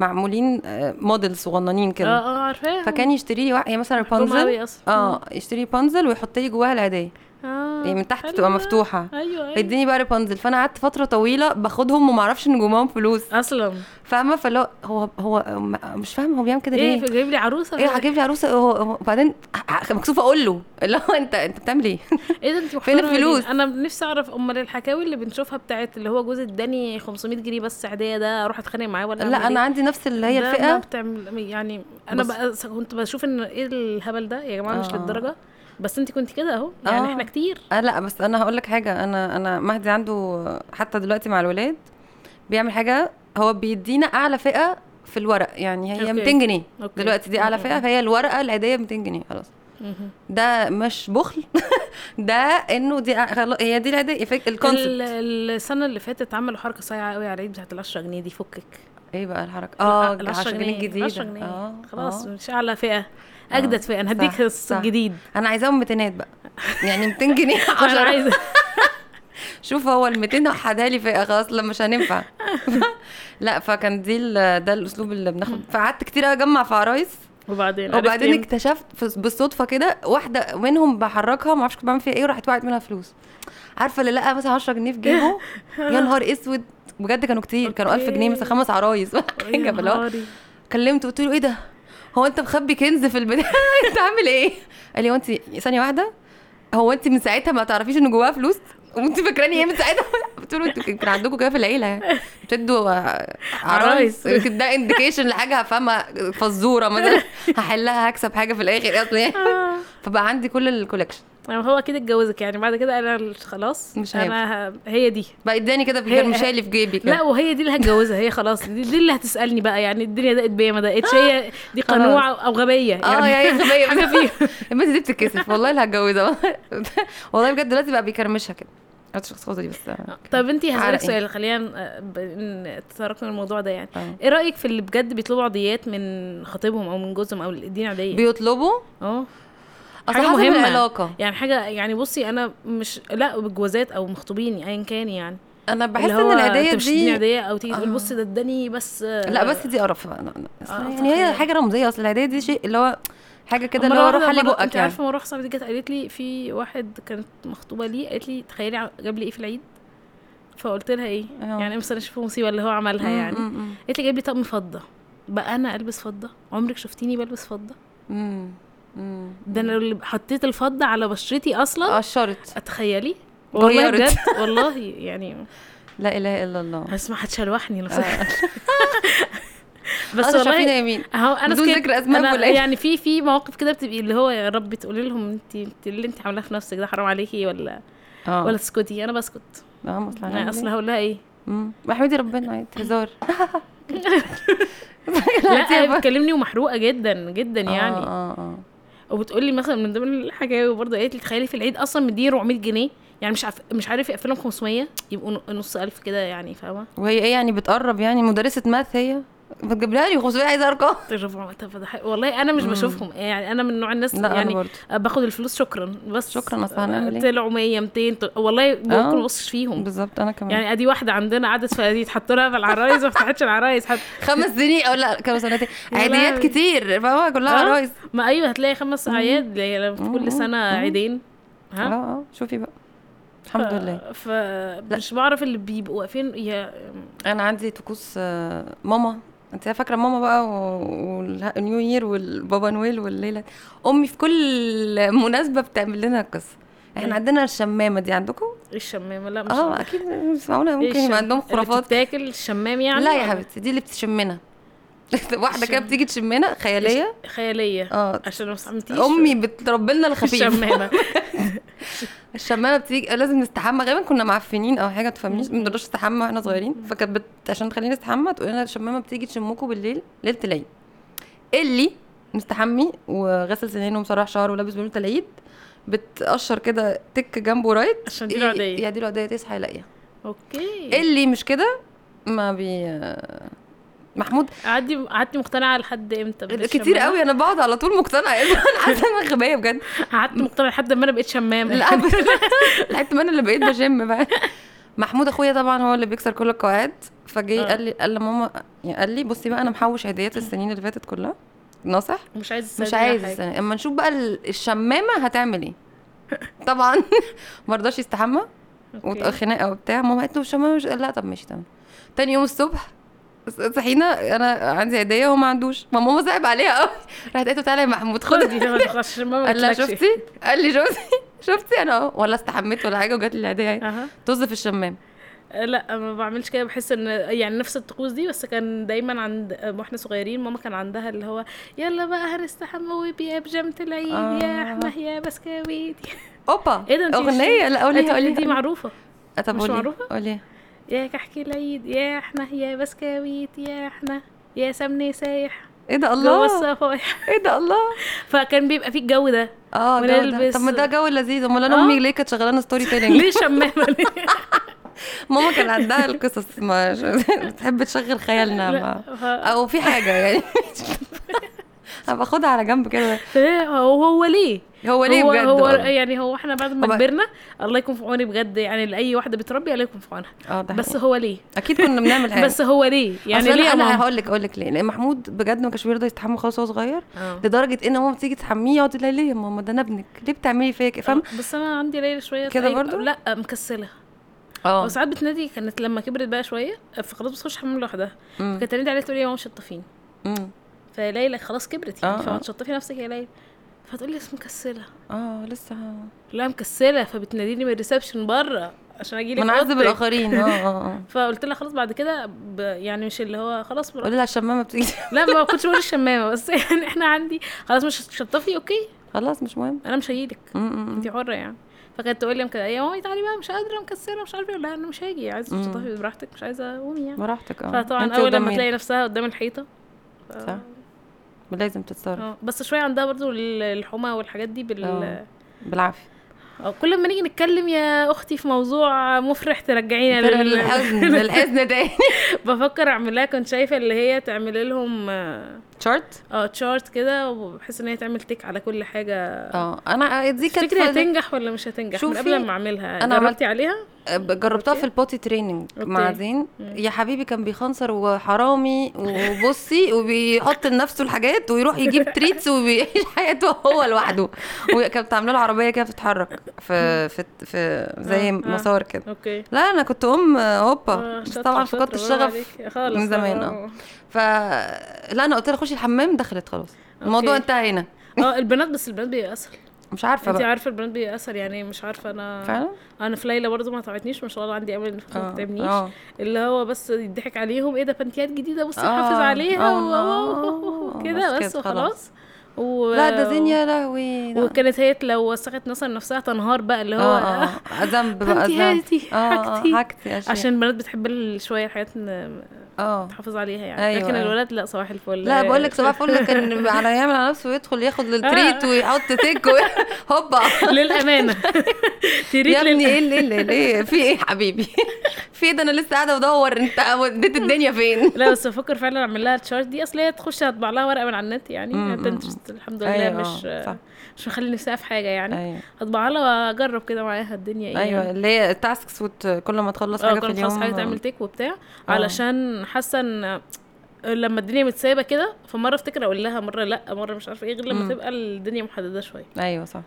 [SPEAKER 2] معمولين آه، موديل صغننين
[SPEAKER 1] اه
[SPEAKER 2] كده
[SPEAKER 1] اه عارفاها
[SPEAKER 2] فكان يشتري لي واحد يعني مثلا
[SPEAKER 1] بوم
[SPEAKER 2] رابنزل
[SPEAKER 1] قوي اصلا
[SPEAKER 2] اه يشتري بانزل ويحط لي جواها العيديه
[SPEAKER 1] آه،
[SPEAKER 2] يعني من تحت إيه
[SPEAKER 1] حلوة.
[SPEAKER 2] تبقى مفتوحه
[SPEAKER 1] ايوه ايوه
[SPEAKER 2] اديني بقى رابنزل فانا قعدت فتره طويله باخدهم وما اعرفش ان جواهم فلوس
[SPEAKER 1] اصلا
[SPEAKER 2] فاهمه فاللي هو هو هو م- مش فاهم هو بيعمل كده ليه
[SPEAKER 1] ايه في- جايب لي عروسه
[SPEAKER 2] ايه عاجب لي عروسه هو هو- وبعدين ه- ه- مكسوفه اقول له اللي هو انت انت بتعمل ايه؟
[SPEAKER 1] ايه ده انت
[SPEAKER 2] فين
[SPEAKER 1] محترمة
[SPEAKER 2] الفلوس؟
[SPEAKER 1] جدا. انا نفسي اعرف امال الحكاوي اللي بنشوفها بتاعت اللي هو جوزي اداني 500 جنيه بس عاديه ده اروح اتخانق معاه ولا أعمل
[SPEAKER 2] لا انا
[SPEAKER 1] إيه؟
[SPEAKER 2] عندي نفس اللي
[SPEAKER 1] ده-
[SPEAKER 2] هي
[SPEAKER 1] ده
[SPEAKER 2] الفئه
[SPEAKER 1] بتعمل يعني انا
[SPEAKER 2] بص.
[SPEAKER 1] بقى س- كنت بشوف ان ايه الهبل ده يا جماعه مش
[SPEAKER 2] آه.
[SPEAKER 1] للدرجه بس انت كنت كده اهو يعني
[SPEAKER 2] آه.
[SPEAKER 1] احنا كتير
[SPEAKER 2] آه لا بس انا هقول لك حاجه انا انا مهدي عنده حتى دلوقتي مع الولاد بيعمل حاجه هو بيدينا اعلى فئه في الورق يعني هي
[SPEAKER 1] أوكي.
[SPEAKER 2] 200 جنيه
[SPEAKER 1] اوكي
[SPEAKER 2] دلوقتي دي اعلى فئه فهي الورقه العاديه 200 جنيه خلاص
[SPEAKER 1] مهم.
[SPEAKER 2] ده مش بخل ده انه دي أع- خلاص هي دي العاديه فك- الكونسبت
[SPEAKER 1] ال- السنه اللي فاتت عملوا حركه صايعه قوي على العيد بتاعت ال 10 جنيه دي فكك
[SPEAKER 2] ايه بقى الحركه اه
[SPEAKER 1] ال
[SPEAKER 2] 10 جنيه
[SPEAKER 1] ال 10
[SPEAKER 2] الجديده
[SPEAKER 1] جنيه
[SPEAKER 2] اه
[SPEAKER 1] خلاص
[SPEAKER 2] آه.
[SPEAKER 1] مش اعلى فئه اجدد فئه انا هديك
[SPEAKER 2] صح، صح.
[SPEAKER 1] الجديد
[SPEAKER 2] انا عايزاهم 200 بقى يعني 200 جنيه 10
[SPEAKER 1] انا عايزه
[SPEAKER 2] شوف هو ال 200 وحدها لي فئه خلاص لا مش هننفع لا فكان دي ال- ده الاسلوب اللي بناخد فقعدت كتير أوي اجمع في عرايس
[SPEAKER 1] وبعدين عرفت إيه؟
[SPEAKER 2] وبعدين
[SPEAKER 1] امتى؟
[SPEAKER 2] اكتشفت في- بالصدفه كده واحده منهم بحركها ما اعرفش كنت بعمل فيها ايه وراحت وقعت منها فلوس عارفه اللي لقى مثلا 10 جنيه في جيبه يا نهار اسود بجد كانوا كتير كانوا 1000 جنيه مثلا خمس عرايس
[SPEAKER 1] يا
[SPEAKER 2] حاجه فاللي هو
[SPEAKER 1] نهاري.
[SPEAKER 2] كلمته قلت له ايه ده هو انت مخبي كنز في البيت انت عامل ايه قال لي هو انت ثانيه واحده هو انت من ساعتها ما تعرفيش ان جواها فلوس وانت فاكراني ايه من ساعتها قلت له انتوا كان عندكم كده في العيله يعني بتدوا ع-
[SPEAKER 1] عرايس.
[SPEAKER 2] عرايس يمكن ده انديكيشن لحاجه هفهمها فزوره مثلا هحلها هكسب حاجه في الاخر اصلا يعني
[SPEAKER 1] آه.
[SPEAKER 2] فبقى عندي كل الكولكشن
[SPEAKER 1] يعني هو كده اتجوزك يعني بعد كده انا خلاص
[SPEAKER 2] مش
[SPEAKER 1] انا ه- هي دي
[SPEAKER 2] بقى اداني كده
[SPEAKER 1] هي-
[SPEAKER 2] في مش شايل في جيبي كده
[SPEAKER 1] لا وهي دي اللي هتجوزها هي خلاص دي, دي اللي هتسالني بقى يعني الدنيا دقت بيا ما دقتش هي دي قنوعه او غبيه يعني
[SPEAKER 2] اه يا غبيه
[SPEAKER 1] حاجه فيها
[SPEAKER 2] البنت دي بتتكسف والله اللي هتجوزها والله- والله بجد دلوقتي بقى بيكرمشها كده قلت الشخصيه دي بس
[SPEAKER 1] آه، طب انتي
[SPEAKER 2] على
[SPEAKER 1] هسالك
[SPEAKER 2] إيه؟
[SPEAKER 1] سؤال خلينا آه، ب- ن- نتطرق للموضوع ده يعني
[SPEAKER 2] آه.
[SPEAKER 1] ايه رايك في اللي بجد بيطلبوا عاديات من خطيبهم او من جوزهم او اللي اديني عاديه
[SPEAKER 2] بيطلبوا
[SPEAKER 1] اه
[SPEAKER 2] اصل
[SPEAKER 1] حاجة
[SPEAKER 2] حسب
[SPEAKER 1] مهمة.
[SPEAKER 2] العلاقه
[SPEAKER 1] يعني حاجه يعني بصي انا مش لا بالجوازات او مخطوبين ايا كان يعني
[SPEAKER 2] انا بحس
[SPEAKER 1] اللي
[SPEAKER 2] ان
[SPEAKER 1] هو
[SPEAKER 2] العيديه
[SPEAKER 1] انت مش تديني
[SPEAKER 2] دي
[SPEAKER 1] عاديه او تيجي تقول
[SPEAKER 2] آه.
[SPEAKER 1] بص ده اداني بس
[SPEAKER 2] لا بس دي قرف أنا- أنا- أصل
[SPEAKER 1] آه،
[SPEAKER 2] يعني هي
[SPEAKER 1] تخيل.
[SPEAKER 2] حاجه رمزيه اصل العيديه دي شيء اللي هو حاجه كده اللي
[SPEAKER 1] مرة
[SPEAKER 2] هو
[SPEAKER 1] واحدة-
[SPEAKER 2] روح حلي
[SPEAKER 1] مرة-
[SPEAKER 2] بقك
[SPEAKER 1] انت
[SPEAKER 2] يعني
[SPEAKER 1] عارفه مره واحده صاحبتي جت قالت لي في واحد كانت مخطوبه ليه قالت لي تخيلي ع- جاب لي ايه في العيد فقلت لها ايه
[SPEAKER 2] آه.
[SPEAKER 1] يعني مثلا شوفوا مصيبه اللي هو عملها
[SPEAKER 2] مم،
[SPEAKER 1] يعني
[SPEAKER 2] مم، مم.
[SPEAKER 1] قالت لي جايب لي طقم فضه بقى انا البس فضه عمرك شفتيني بلبس فضه
[SPEAKER 2] مم، مم.
[SPEAKER 1] ده انا اللي حطيت الفضه على بشرتي
[SPEAKER 2] اه.
[SPEAKER 1] اصلا
[SPEAKER 2] قشرت
[SPEAKER 1] اتخيلي والله
[SPEAKER 2] غيرت.
[SPEAKER 1] بجد والله يعني
[SPEAKER 2] لا اله الا الله
[SPEAKER 1] هسمع هتشلوحني نفسها
[SPEAKER 2] آه.
[SPEAKER 1] بس
[SPEAKER 2] أنا آه، شايفين
[SPEAKER 1] والله
[SPEAKER 2] يمين
[SPEAKER 1] اهو انا
[SPEAKER 2] بدون
[SPEAKER 1] سكت-
[SPEAKER 2] ذكر أسماء
[SPEAKER 1] أنا
[SPEAKER 2] ولا إيه.
[SPEAKER 1] يعني في في مواقف كده بتبقي اللي هو يا رب تقولي لهم انت انت اللي انت عاملاه في نفسك ده حرام عليكي ولا
[SPEAKER 2] اه
[SPEAKER 1] ولا تسكتي انا بسكت
[SPEAKER 2] اه ما اصل
[SPEAKER 1] انا
[SPEAKER 2] هنعمل إيه؟
[SPEAKER 1] اصل هقول لها ايه
[SPEAKER 2] مم. واحمدي ربنا عادي هزار
[SPEAKER 1] لا هي
[SPEAKER 2] هتبقى-
[SPEAKER 1] بتكلمني ومحروقه جدا جدا
[SPEAKER 2] إيه آه،
[SPEAKER 1] يعني
[SPEAKER 2] اه اه
[SPEAKER 1] وبتقول لي مثلا من ضمن الحكاوي برضه قالت لي تخيلي في العيد اصلا مديني 400 جنيه يعني مش عارف مش عارف يقفلهم 500 يبقوا ن- نص الف كده يعني فاهمه
[SPEAKER 2] وهي ايه يعني بتقرب يعني مدرسه ماث هي ما تجيبلها لي 500 عايزه ارقام
[SPEAKER 1] الربع- طب ده حق- والله انا مش
[SPEAKER 2] مم.
[SPEAKER 1] بشوفهم يعني انا من نوع الناس
[SPEAKER 2] لا انا
[SPEAKER 1] يعني
[SPEAKER 2] برضه
[SPEAKER 1] باخد الفلوس شكرا بس
[SPEAKER 2] شكراً، أصل هنعمل إيه؟ آه.
[SPEAKER 1] طلعوا 100 200 طل- والله ممكن ما بصش فيهم
[SPEAKER 2] بالظبط انا كمان
[SPEAKER 1] يعني ادي واحده عندنا قعدت فدي تحط لها في العرايس ما فتحتش العرايس حتى
[SPEAKER 2] خمس سنين او لا كام سنتين
[SPEAKER 1] يا
[SPEAKER 2] عيديات
[SPEAKER 1] لهوي.
[SPEAKER 2] كتير فهو كلها
[SPEAKER 1] آه.
[SPEAKER 2] عرايس
[SPEAKER 1] ما ايوه هتلاقي خمس اعياد يعني في
[SPEAKER 2] مم.
[SPEAKER 1] كل سنه
[SPEAKER 2] مم.
[SPEAKER 1] عيدين
[SPEAKER 2] اه
[SPEAKER 1] ها
[SPEAKER 2] اه شوفي بقى الحمد لله
[SPEAKER 1] ف مش بعرف اللي بيبقوا واقفين يا إيه
[SPEAKER 2] انا عندي طقوس آه، ماما انت فاكره ماما بقى و- والنيو يير والبابا نويل والليله امي في كل مناسبه بتعمل لنا قصه
[SPEAKER 1] أيوة.
[SPEAKER 2] احنا عندنا الشمامه دي عندكم
[SPEAKER 1] ايه الشمامه لا مش
[SPEAKER 2] اه اكيد مش معقوله
[SPEAKER 1] إيه
[SPEAKER 2] ممكن يبقى عندهم
[SPEAKER 1] الشم- اللي
[SPEAKER 2] خرافات
[SPEAKER 1] بتتاكل الشمام يعني
[SPEAKER 2] لا يا
[SPEAKER 1] ولا
[SPEAKER 2] حبيبتي دي اللي بتشمنا واحده كده
[SPEAKER 1] الشم-
[SPEAKER 2] بتيجي تشمنا خياليه
[SPEAKER 1] خياليه
[SPEAKER 2] اه
[SPEAKER 1] عشان ما سمعتيش
[SPEAKER 2] امي بتربي لنا الخفيف
[SPEAKER 1] الشمامه
[SPEAKER 2] الشمامه بتيجي لازم نستحمى غالبا كنا معفنين او حاجه تفهمنيش ما بنقدرش نستحمى واحنا صغيرين فكانت بت... عشان تخلينا نستحمى تقول لنا الشمامه بتيجي تشمكوا بالليل ليله العيد اللي مستحمي وغسل سنانه ومسرح شعره ولابس بلوزه العيد بتقشر كده تك جنبه رايت
[SPEAKER 1] عشان دي إيه. العاديه
[SPEAKER 2] يا دي العاديه تصحى يلاقيها
[SPEAKER 1] اوكي
[SPEAKER 2] اللي مش كده ما بي محمود
[SPEAKER 1] قعدتي قعدتي مقتنعه لحد امتى بالشمامة؟
[SPEAKER 2] إيه، كتير قوي انا بقعد على طول إيه مقتنعه انا حاسه إن انا غبيه بجد
[SPEAKER 1] قعدت مقتنعه لحد ما انا بقيت شمامه
[SPEAKER 2] لا لحد ما انا اللي بقيت بشم بقى محمود اخويا طبعا هو اللي بيكسر كل القواعد فجه
[SPEAKER 1] آه.
[SPEAKER 2] قال لي قال لماما يعني قال لي بصي بقى انا محوش هديات السنين اللي فاتت كلها ناصح
[SPEAKER 1] مش عايز
[SPEAKER 2] مش
[SPEAKER 1] أساعد ولا
[SPEAKER 2] عايز
[SPEAKER 1] حاجة.
[SPEAKER 2] السنة. اما نشوف بقى ال- الشمامه هتعمل ايه طبعا ما رضاش يستحمى
[SPEAKER 1] أوكي.
[SPEAKER 2] وخناقه وبتاع ماما قالت له الشمامه مش لا طب ماشي تمام تاني يوم الصبح صحينا انا عندي هديه وهو ما عندوش ما ماما صعب عليها قوي راحت قالت له تعالى يا محمود خد
[SPEAKER 1] خدي يلا خلاص عشان ما
[SPEAKER 2] قال لها
[SPEAKER 1] بقولكش.
[SPEAKER 2] شفتي قال لي شفتي شفتي انا أهو. ولا استحميت ولا حاجه وجات لي العيديه اهي
[SPEAKER 1] اها
[SPEAKER 2] طز في الشمام
[SPEAKER 1] لا ما بعملش كده بحس ان يعني نفس الطقوس دي بس كان دايما عند واحنا صغيرين ماما كان عندها اللي هو يلا بقى هنستحمى وبيا بجامة العيد يا
[SPEAKER 2] آه.
[SPEAKER 1] احمد يا بسكويت
[SPEAKER 2] اوبا
[SPEAKER 1] ايه ده انت مش-
[SPEAKER 2] اغنيه لا قوليها
[SPEAKER 1] قولي
[SPEAKER 2] قوليها
[SPEAKER 1] دي معروفه
[SPEAKER 2] آه، طب
[SPEAKER 1] مش
[SPEAKER 2] قوليها.
[SPEAKER 1] معروفة؟
[SPEAKER 2] قوليها
[SPEAKER 1] يا كحك العيد يا احنا يا بسكويت يا احنا يا سمني سايح
[SPEAKER 2] ايه ده
[SPEAKER 1] جوه
[SPEAKER 2] الله
[SPEAKER 1] الصفايح
[SPEAKER 2] ايه ده الله
[SPEAKER 1] فكان بيبقى فيه الجو ده
[SPEAKER 2] اه جو ده.
[SPEAKER 1] ونلبس-
[SPEAKER 2] طب ما ده جو لذيذ امال انا
[SPEAKER 1] آه.
[SPEAKER 2] امي ليه كانت شغلانه ستوري تيلينج
[SPEAKER 1] ليه شمامه ليه؟
[SPEAKER 2] ماما كان عندها القصص ما بتحب تشغل خيالنا ما.
[SPEAKER 1] لا، ف-
[SPEAKER 2] او في حاجه يعني هبقى خدها على جنب كده
[SPEAKER 1] فليه- هو هو ليه
[SPEAKER 2] هو ليه
[SPEAKER 1] هو,
[SPEAKER 2] بجد آه.
[SPEAKER 1] هو
[SPEAKER 2] والله؟
[SPEAKER 1] يعني هو احنا بعد ما
[SPEAKER 2] هو-
[SPEAKER 1] كبرنا الله يكون في عوني بجد يعني لاي واحده بتربي الله يكون في عونها
[SPEAKER 2] اه ده
[SPEAKER 1] بس
[SPEAKER 2] حقيقي.
[SPEAKER 1] هو ليه
[SPEAKER 2] اكيد كنا بنعمل حاجه
[SPEAKER 1] بس هو ليه يعني
[SPEAKER 2] أصل
[SPEAKER 1] ليه يا
[SPEAKER 2] انا, أنا
[SPEAKER 1] ماما
[SPEAKER 2] هقول لك اقول لك ليه لان محمود بجد ما كانش بيرضى يستحمى خالص وهو صغير
[SPEAKER 1] آه.
[SPEAKER 2] لدرجه ان ماما بتيجي تحميه يقعد يقول لها، ليه يا ماما ده انا ابنك ليه بتعملي فيا كده فاهم
[SPEAKER 1] آه، بس انا عندي ليلى شويه
[SPEAKER 2] كده
[SPEAKER 1] طيب-
[SPEAKER 2] برضو؟
[SPEAKER 1] لا مكسله
[SPEAKER 2] اه
[SPEAKER 1] وساعات بتنادي كانت لما كبرت بقى شويه فخلاص بتخش حمام لوحدها
[SPEAKER 2] أمم،
[SPEAKER 1] فكانت تنادي عليها تقول لي يا ماما شطفيني
[SPEAKER 2] أمم.
[SPEAKER 1] فليلى خلاص كبرت يعني
[SPEAKER 2] آه،
[SPEAKER 1] فما
[SPEAKER 2] آه.
[SPEAKER 1] تشطفي نفسك يا ليلى فتقول لي اسم مكسله
[SPEAKER 2] اه لسه ه-
[SPEAKER 1] لا مكسله فبتناديني من الريسبشن بره عشان اجي لك
[SPEAKER 2] منعزل
[SPEAKER 1] أوضتك.
[SPEAKER 2] بالاخرين اه اه اه
[SPEAKER 1] فقلت لها خلاص بعد كده ب... يعني مش اللي هو خلاص بر...
[SPEAKER 2] قولي لها الشمامه بتيجي
[SPEAKER 1] لا ما كنتش بقول الشمامه بس يعني احنا عندي خلاص مش هتشطفي اوكي
[SPEAKER 2] خلاص مش مهم
[SPEAKER 1] انا مش هيدك
[SPEAKER 2] أمم، أمم،
[SPEAKER 1] انت حره يعني فكانت تقول لي كده يا مامي تعالي بقى مش قادره مكسره مش عارفه إيه. لا انا مش هاجي عايزه
[SPEAKER 2] مم.
[SPEAKER 1] تشطفي براحتك مش عايزه قومي يعني
[SPEAKER 2] براحتك اه
[SPEAKER 1] فطبعا
[SPEAKER 2] أنت
[SPEAKER 1] اول لما
[SPEAKER 2] وجميل.
[SPEAKER 1] تلاقي نفسها قدام الحيطه ف-
[SPEAKER 2] صح. لازم تتصرف
[SPEAKER 1] اه بس شويه عندها برضو ال- الحمى والحاجات دي بال
[SPEAKER 2] آه. بالعافيه
[SPEAKER 1] آه، كل ما نيجي نتكلم يا اختي في موضوع مفرح ترجعينا
[SPEAKER 2] ترى إيه
[SPEAKER 1] لل-
[SPEAKER 2] الحزن الحزن ده
[SPEAKER 1] بفكر اعملها كنت شايفه اللي هي تعمل لهم آه،
[SPEAKER 2] شارت
[SPEAKER 1] اه تشارت كده وبحس ان هي تعمل تيك على كل حاجه
[SPEAKER 2] اه انا دي كانت
[SPEAKER 1] تفتكري
[SPEAKER 2] فايدة.
[SPEAKER 1] هتنجح ولا مش هتنجح من
[SPEAKER 2] شوفي،
[SPEAKER 1] قبل ما اعملها
[SPEAKER 2] أنا
[SPEAKER 1] انا
[SPEAKER 2] عملت-
[SPEAKER 1] جربتي عليها
[SPEAKER 2] جربتها
[SPEAKER 1] أوكي.
[SPEAKER 2] في البوتي تريننج
[SPEAKER 1] أوكي.
[SPEAKER 2] مع زين يا حبيبي كان بيخنصر وحرامي وبصي وبيحط لنفسه الحاجات ويروح يجيب تريتس وبيعيش حياته هو لوحده وكانت عامله له عربيه كده بتتحرك في في في
[SPEAKER 1] آه،
[SPEAKER 2] زي
[SPEAKER 1] آه.
[SPEAKER 2] مسار كده
[SPEAKER 1] اوكي
[SPEAKER 2] لا انا كنت ام هوبا
[SPEAKER 1] آه،
[SPEAKER 2] بس
[SPEAKER 1] شاطرة،
[SPEAKER 2] طبعا
[SPEAKER 1] شاطرة،
[SPEAKER 2] فقدت
[SPEAKER 1] برافو
[SPEAKER 2] الشغف
[SPEAKER 1] عليكي. خالص
[SPEAKER 2] من زمان،
[SPEAKER 1] آه.
[SPEAKER 2] ف لا انا قلت لها خشي الحمام دخلت خلاص الموضوع
[SPEAKER 1] أوكي.
[SPEAKER 2] انتهى هنا
[SPEAKER 1] اه البنات بس البنات بيبقى اسهل
[SPEAKER 2] مش عارفه
[SPEAKER 1] انت
[SPEAKER 2] بقى
[SPEAKER 1] عارفه البنات بيبقى اسهل يعني مش عارفه انا
[SPEAKER 2] فعلا
[SPEAKER 1] انا في ليلى برضه ما تعبتنيش ما شاء الله عندي امل ان الفخذ ما
[SPEAKER 2] آه،
[SPEAKER 1] تعبنيش
[SPEAKER 2] آه.
[SPEAKER 1] اللي هو بس يضحك عليهم ايه ده بنتيات جديده بصي
[SPEAKER 2] آه،
[SPEAKER 1] حافظ عليها
[SPEAKER 2] آه،
[SPEAKER 1] و-
[SPEAKER 2] آه،
[SPEAKER 1] كده
[SPEAKER 2] بس
[SPEAKER 1] بس
[SPEAKER 2] كده
[SPEAKER 1] وخلاص
[SPEAKER 2] خلاص.
[SPEAKER 1] و...
[SPEAKER 2] لا ده زين يا لهوي ده-
[SPEAKER 1] وكانت هي لو وسخت مثلا نفسها تنهار بقى اللي هو
[SPEAKER 2] اه اه ذنب بقى
[SPEAKER 1] انتي
[SPEAKER 2] ذنب
[SPEAKER 1] آه، هاتي
[SPEAKER 2] اه آه،
[SPEAKER 1] حاجتي.
[SPEAKER 2] حاجتي عشان,
[SPEAKER 1] عشان البنات بتحب ال- شويه الحاجات إن
[SPEAKER 2] اه
[SPEAKER 1] تحافظ عليها يعني
[SPEAKER 2] أيوة،
[SPEAKER 1] لكن
[SPEAKER 2] أيوة.
[SPEAKER 1] الولاد لا صباح الفل
[SPEAKER 2] لا بقول لك صباح الفل كان على يعمل على نفسه ويدخل ياخد للتريت
[SPEAKER 1] آه.
[SPEAKER 2] ويحط تيك و- هوبا
[SPEAKER 1] للامانه تريد
[SPEAKER 2] يا ابني
[SPEAKER 1] لل...
[SPEAKER 2] ايه اللي اللي ليه في ايه حبيبي في ايه ده انا لسه قاعده بدور انت وديت الدنيا فين
[SPEAKER 1] لا بس بفكر فعلا اعمل لها التشارت دي اصل هي تخش هطبع لها ورقه من على النت يعني
[SPEAKER 2] مم، مم،
[SPEAKER 1] بنترست الحمد لله
[SPEAKER 2] أيوة،
[SPEAKER 1] مش
[SPEAKER 2] صح.
[SPEAKER 1] مش مخلي نفسها في حاجه يعني
[SPEAKER 2] ايوه
[SPEAKER 1] هطبع لها واجرب كده معاها الدنيا ايه
[SPEAKER 2] ايوه
[SPEAKER 1] يعني.
[SPEAKER 2] اللي هي التاسكس وت... كل ما تخلص
[SPEAKER 1] اه
[SPEAKER 2] حاجه في
[SPEAKER 1] كنت خلاص
[SPEAKER 2] اليوم آه.
[SPEAKER 1] حاجه تعمل تيك وبتاع علشان حاسه ان لما الدنيا متسايبه كده فمره افتكر اقول لها مره لا مره مش عارفه ايه غير لما
[SPEAKER 2] مم.
[SPEAKER 1] تبقى الدنيا محدده شويه
[SPEAKER 2] ايوه صح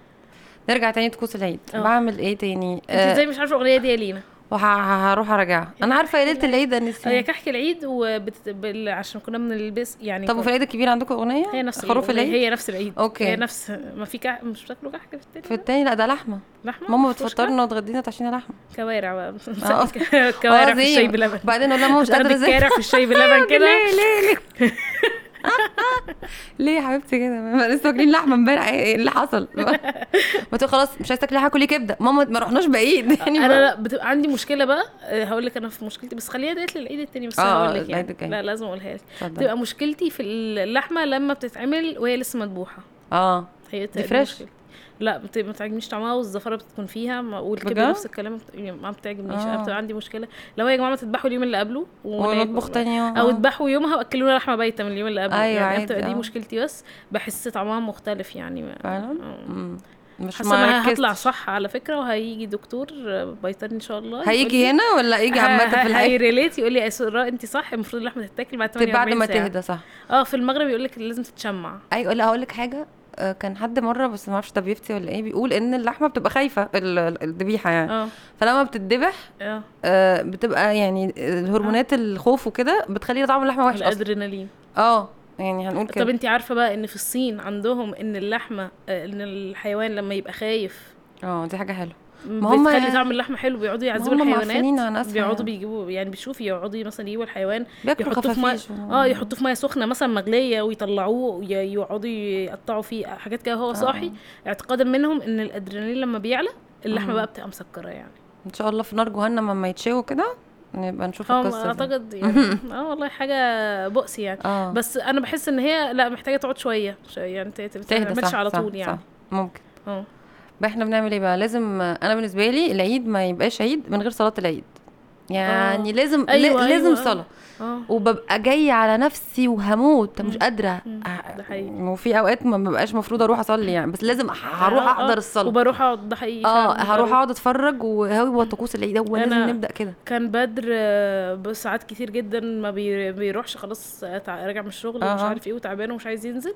[SPEAKER 2] نرجع تاني طقوس العيد
[SPEAKER 1] آه.
[SPEAKER 2] بعمل ايه تاني
[SPEAKER 1] انت
[SPEAKER 2] آه
[SPEAKER 1] ازاي مش عارفه الاغنيه دي يا لينا
[SPEAKER 2] وهروح ارجع انا عارفه يا ليله العيد انا
[SPEAKER 1] آه، هي
[SPEAKER 2] نسيت
[SPEAKER 1] كحك العيد وبت... بال... عشان كنا بنلبس يعني
[SPEAKER 2] طب وفي
[SPEAKER 1] كنا-
[SPEAKER 2] العيد الكبير عندكم اغنيه
[SPEAKER 1] هي نفس
[SPEAKER 2] خروف
[SPEAKER 1] الأغنية،
[SPEAKER 2] العيد
[SPEAKER 1] هي نفس العيد
[SPEAKER 2] أوكي.
[SPEAKER 1] هي نفس ما في كحك مش بتاكلوا كحك في
[SPEAKER 2] في
[SPEAKER 1] التاني ده؟
[SPEAKER 2] التاني لا ده لحمه
[SPEAKER 1] لحمه
[SPEAKER 2] ماما
[SPEAKER 1] مش مشكلة.
[SPEAKER 2] بتفطرنا وتغدينا وتعشينا لحمه
[SPEAKER 1] كوارع بقى
[SPEAKER 2] آه.
[SPEAKER 1] كوارع
[SPEAKER 2] آه،
[SPEAKER 1] في
[SPEAKER 2] زي-
[SPEAKER 1] الشاي بلبن
[SPEAKER 2] بعدين اقول لها ماما مش
[SPEAKER 1] تاخدي
[SPEAKER 2] قادره زي
[SPEAKER 1] الكارع في الشاي بلبن
[SPEAKER 2] ليه
[SPEAKER 1] كده
[SPEAKER 2] ليه ليه ليه يا حبيبتي كده ما إحنا لسه واكلين لحمه امبارح ايه إيه اللي حصل ما تقول خلاص مش عايز تاكلي حاجه كلي كبده ماما ما رحناش بعيد يعني
[SPEAKER 1] انا لا بتبقى عندي مشكله بقى آه، هقول لك انا في مشكلتي بس خليها ديت للعيد التاني بس
[SPEAKER 2] آه، آه،
[SPEAKER 1] هقول لك
[SPEAKER 2] العيد
[SPEAKER 1] يعني
[SPEAKER 2] الجاي. طيب.
[SPEAKER 1] لا لازم اقولها لك
[SPEAKER 2] اتفضل
[SPEAKER 1] بتبقى مشكلتي في اللحمه لما بتتعمل وهي لسه مذبوحه
[SPEAKER 2] اه
[SPEAKER 1] هي
[SPEAKER 2] دي فريش؟
[SPEAKER 1] مشكلتي. لا بت- ما بتعجبنيش طعمها والزفره بتكون فيها ما- والكبده
[SPEAKER 2] بجد؟
[SPEAKER 1] نفس الكلام ما بت- ما بتعجبنيش
[SPEAKER 2] آه.
[SPEAKER 1] انا بتبقى عندي مشكله لو يا جماعه ما تذبحوا اليوم اللي قبله
[SPEAKER 2] ونطبخ تاني يوم
[SPEAKER 1] او
[SPEAKER 2] آه.
[SPEAKER 1] اذبحوا يومها واكلونا لحمه بايته من اليوم اللي قبله
[SPEAKER 2] أيوة
[SPEAKER 1] يعني
[SPEAKER 2] عادي،
[SPEAKER 1] بتبقى دي
[SPEAKER 2] آه.
[SPEAKER 1] مشكلتي بس بحس طعمها مختلف يعني ما-
[SPEAKER 2] فعلا؟
[SPEAKER 1] آه.
[SPEAKER 2] مم. مش
[SPEAKER 1] حاسه ان أنا
[SPEAKER 2] ركزتش.
[SPEAKER 1] هطلع صح على فكره وهيجي دكتور بيطري ان شاء الله
[SPEAKER 2] هيجي هنا ولا يجي عامه في العيد
[SPEAKER 1] هيريليت يقول لي يا سراء انت صح المفروض اللحمه تتاكل بعد
[SPEAKER 2] طيب
[SPEAKER 1] 48
[SPEAKER 2] بعد ما
[SPEAKER 1] ساعه
[SPEAKER 2] تهدى صح
[SPEAKER 1] اه في المغرب يقول لك لازم تتشمع
[SPEAKER 2] ايوه لا هقول لك حاجه آه، كان حد مره بس ما اعرفش ده بيفتي ولا ايه بيقول ان اللحمه بتبقى خايفه ال- ال- الذبيحه يعني
[SPEAKER 1] اه
[SPEAKER 2] فلما بتتذبح
[SPEAKER 1] اه
[SPEAKER 2] آه، بتبقى يعني هرمونات
[SPEAKER 1] آه.
[SPEAKER 2] الخوف وكده بتخلي طعم اللحمه وحش اصلا
[SPEAKER 1] الادرينالين
[SPEAKER 2] اه يعني هنقول
[SPEAKER 1] طب
[SPEAKER 2] كده
[SPEAKER 1] انت عارفه بقى ان في الصين عندهم ان اللحمه آه، ان الحيوان لما يبقى خايف
[SPEAKER 2] اه دي حاجه حلوه
[SPEAKER 1] ما
[SPEAKER 2] هم-
[SPEAKER 1] بتخلي طعم اللحمه حلو بيقعدوا يعذبوا
[SPEAKER 2] هم
[SPEAKER 1] الحيوانات
[SPEAKER 2] معفنين عن أسفل
[SPEAKER 1] بيقعدوا
[SPEAKER 2] يعني.
[SPEAKER 1] بيجيبوا يعني بيشوف يقعدوا مثلا يجيبوا الحيوان
[SPEAKER 2] بياكلوا
[SPEAKER 1] يحطوه في ميه
[SPEAKER 2] خفافيش
[SPEAKER 1] اه يحطوه في ميه سخنه مثلا مغليه ويطلعوه وي- يقعدوا يقطعوا فيه حاجات كده وهو صاحي
[SPEAKER 2] آه.
[SPEAKER 1] اعتقادا منهم ان الادرينالين لما بيعلى اللحمه
[SPEAKER 2] مم.
[SPEAKER 1] بقى بتبقى مسكره يعني
[SPEAKER 2] ان شاء الله في نار جهنم لما يتشوي كده نبقى نشوف
[SPEAKER 1] هم
[SPEAKER 2] القصه دي.
[SPEAKER 1] اعتقد يعني اه والله حاجه بؤس يعني
[SPEAKER 2] اه
[SPEAKER 1] بس انا بحس ان هي لا محتاجه تقعد شويه شوية، يعني ت- ت- ما
[SPEAKER 2] تهدى
[SPEAKER 1] تعملش
[SPEAKER 2] صح
[SPEAKER 1] على
[SPEAKER 2] صح
[SPEAKER 1] طول يعني
[SPEAKER 2] صح ممكن
[SPEAKER 1] اه
[SPEAKER 2] بقى احنا بنعمل ايه بقى لازم انا بالنسبه لي العيد ما يبقاش عيد من غير صلاه العيد يعني لازم
[SPEAKER 1] أيوة،
[SPEAKER 2] أيوة لازم
[SPEAKER 1] أيوة،
[SPEAKER 2] صلاه
[SPEAKER 1] اه
[SPEAKER 2] وببقى جايه على نفسي وهموت مش
[SPEAKER 1] مم.
[SPEAKER 2] قادره
[SPEAKER 1] مم.
[SPEAKER 2] أه،
[SPEAKER 1] ده حقيقي.
[SPEAKER 2] وفي اوقات ما ببقاش المفروض اروح اصلي يعني بس لازم هروح
[SPEAKER 1] آه، آه.
[SPEAKER 2] احضر الصلاه
[SPEAKER 1] وبروح اقعد ده حقيقي
[SPEAKER 2] اه
[SPEAKER 1] فعلاً،
[SPEAKER 2] هروح
[SPEAKER 1] بروح.
[SPEAKER 2] اقعد اتفرج وهو طقوس العيد هو لازم
[SPEAKER 1] أنا-
[SPEAKER 2] نبدا كده
[SPEAKER 1] كان بدر آه، بساعات كتير جدا ما بي- بيروحش خلاص آه، تع- راجع من الشغل
[SPEAKER 2] آه،
[SPEAKER 1] ومش
[SPEAKER 2] آه.
[SPEAKER 1] عارف ايه وتعبان ومش عايز ينزل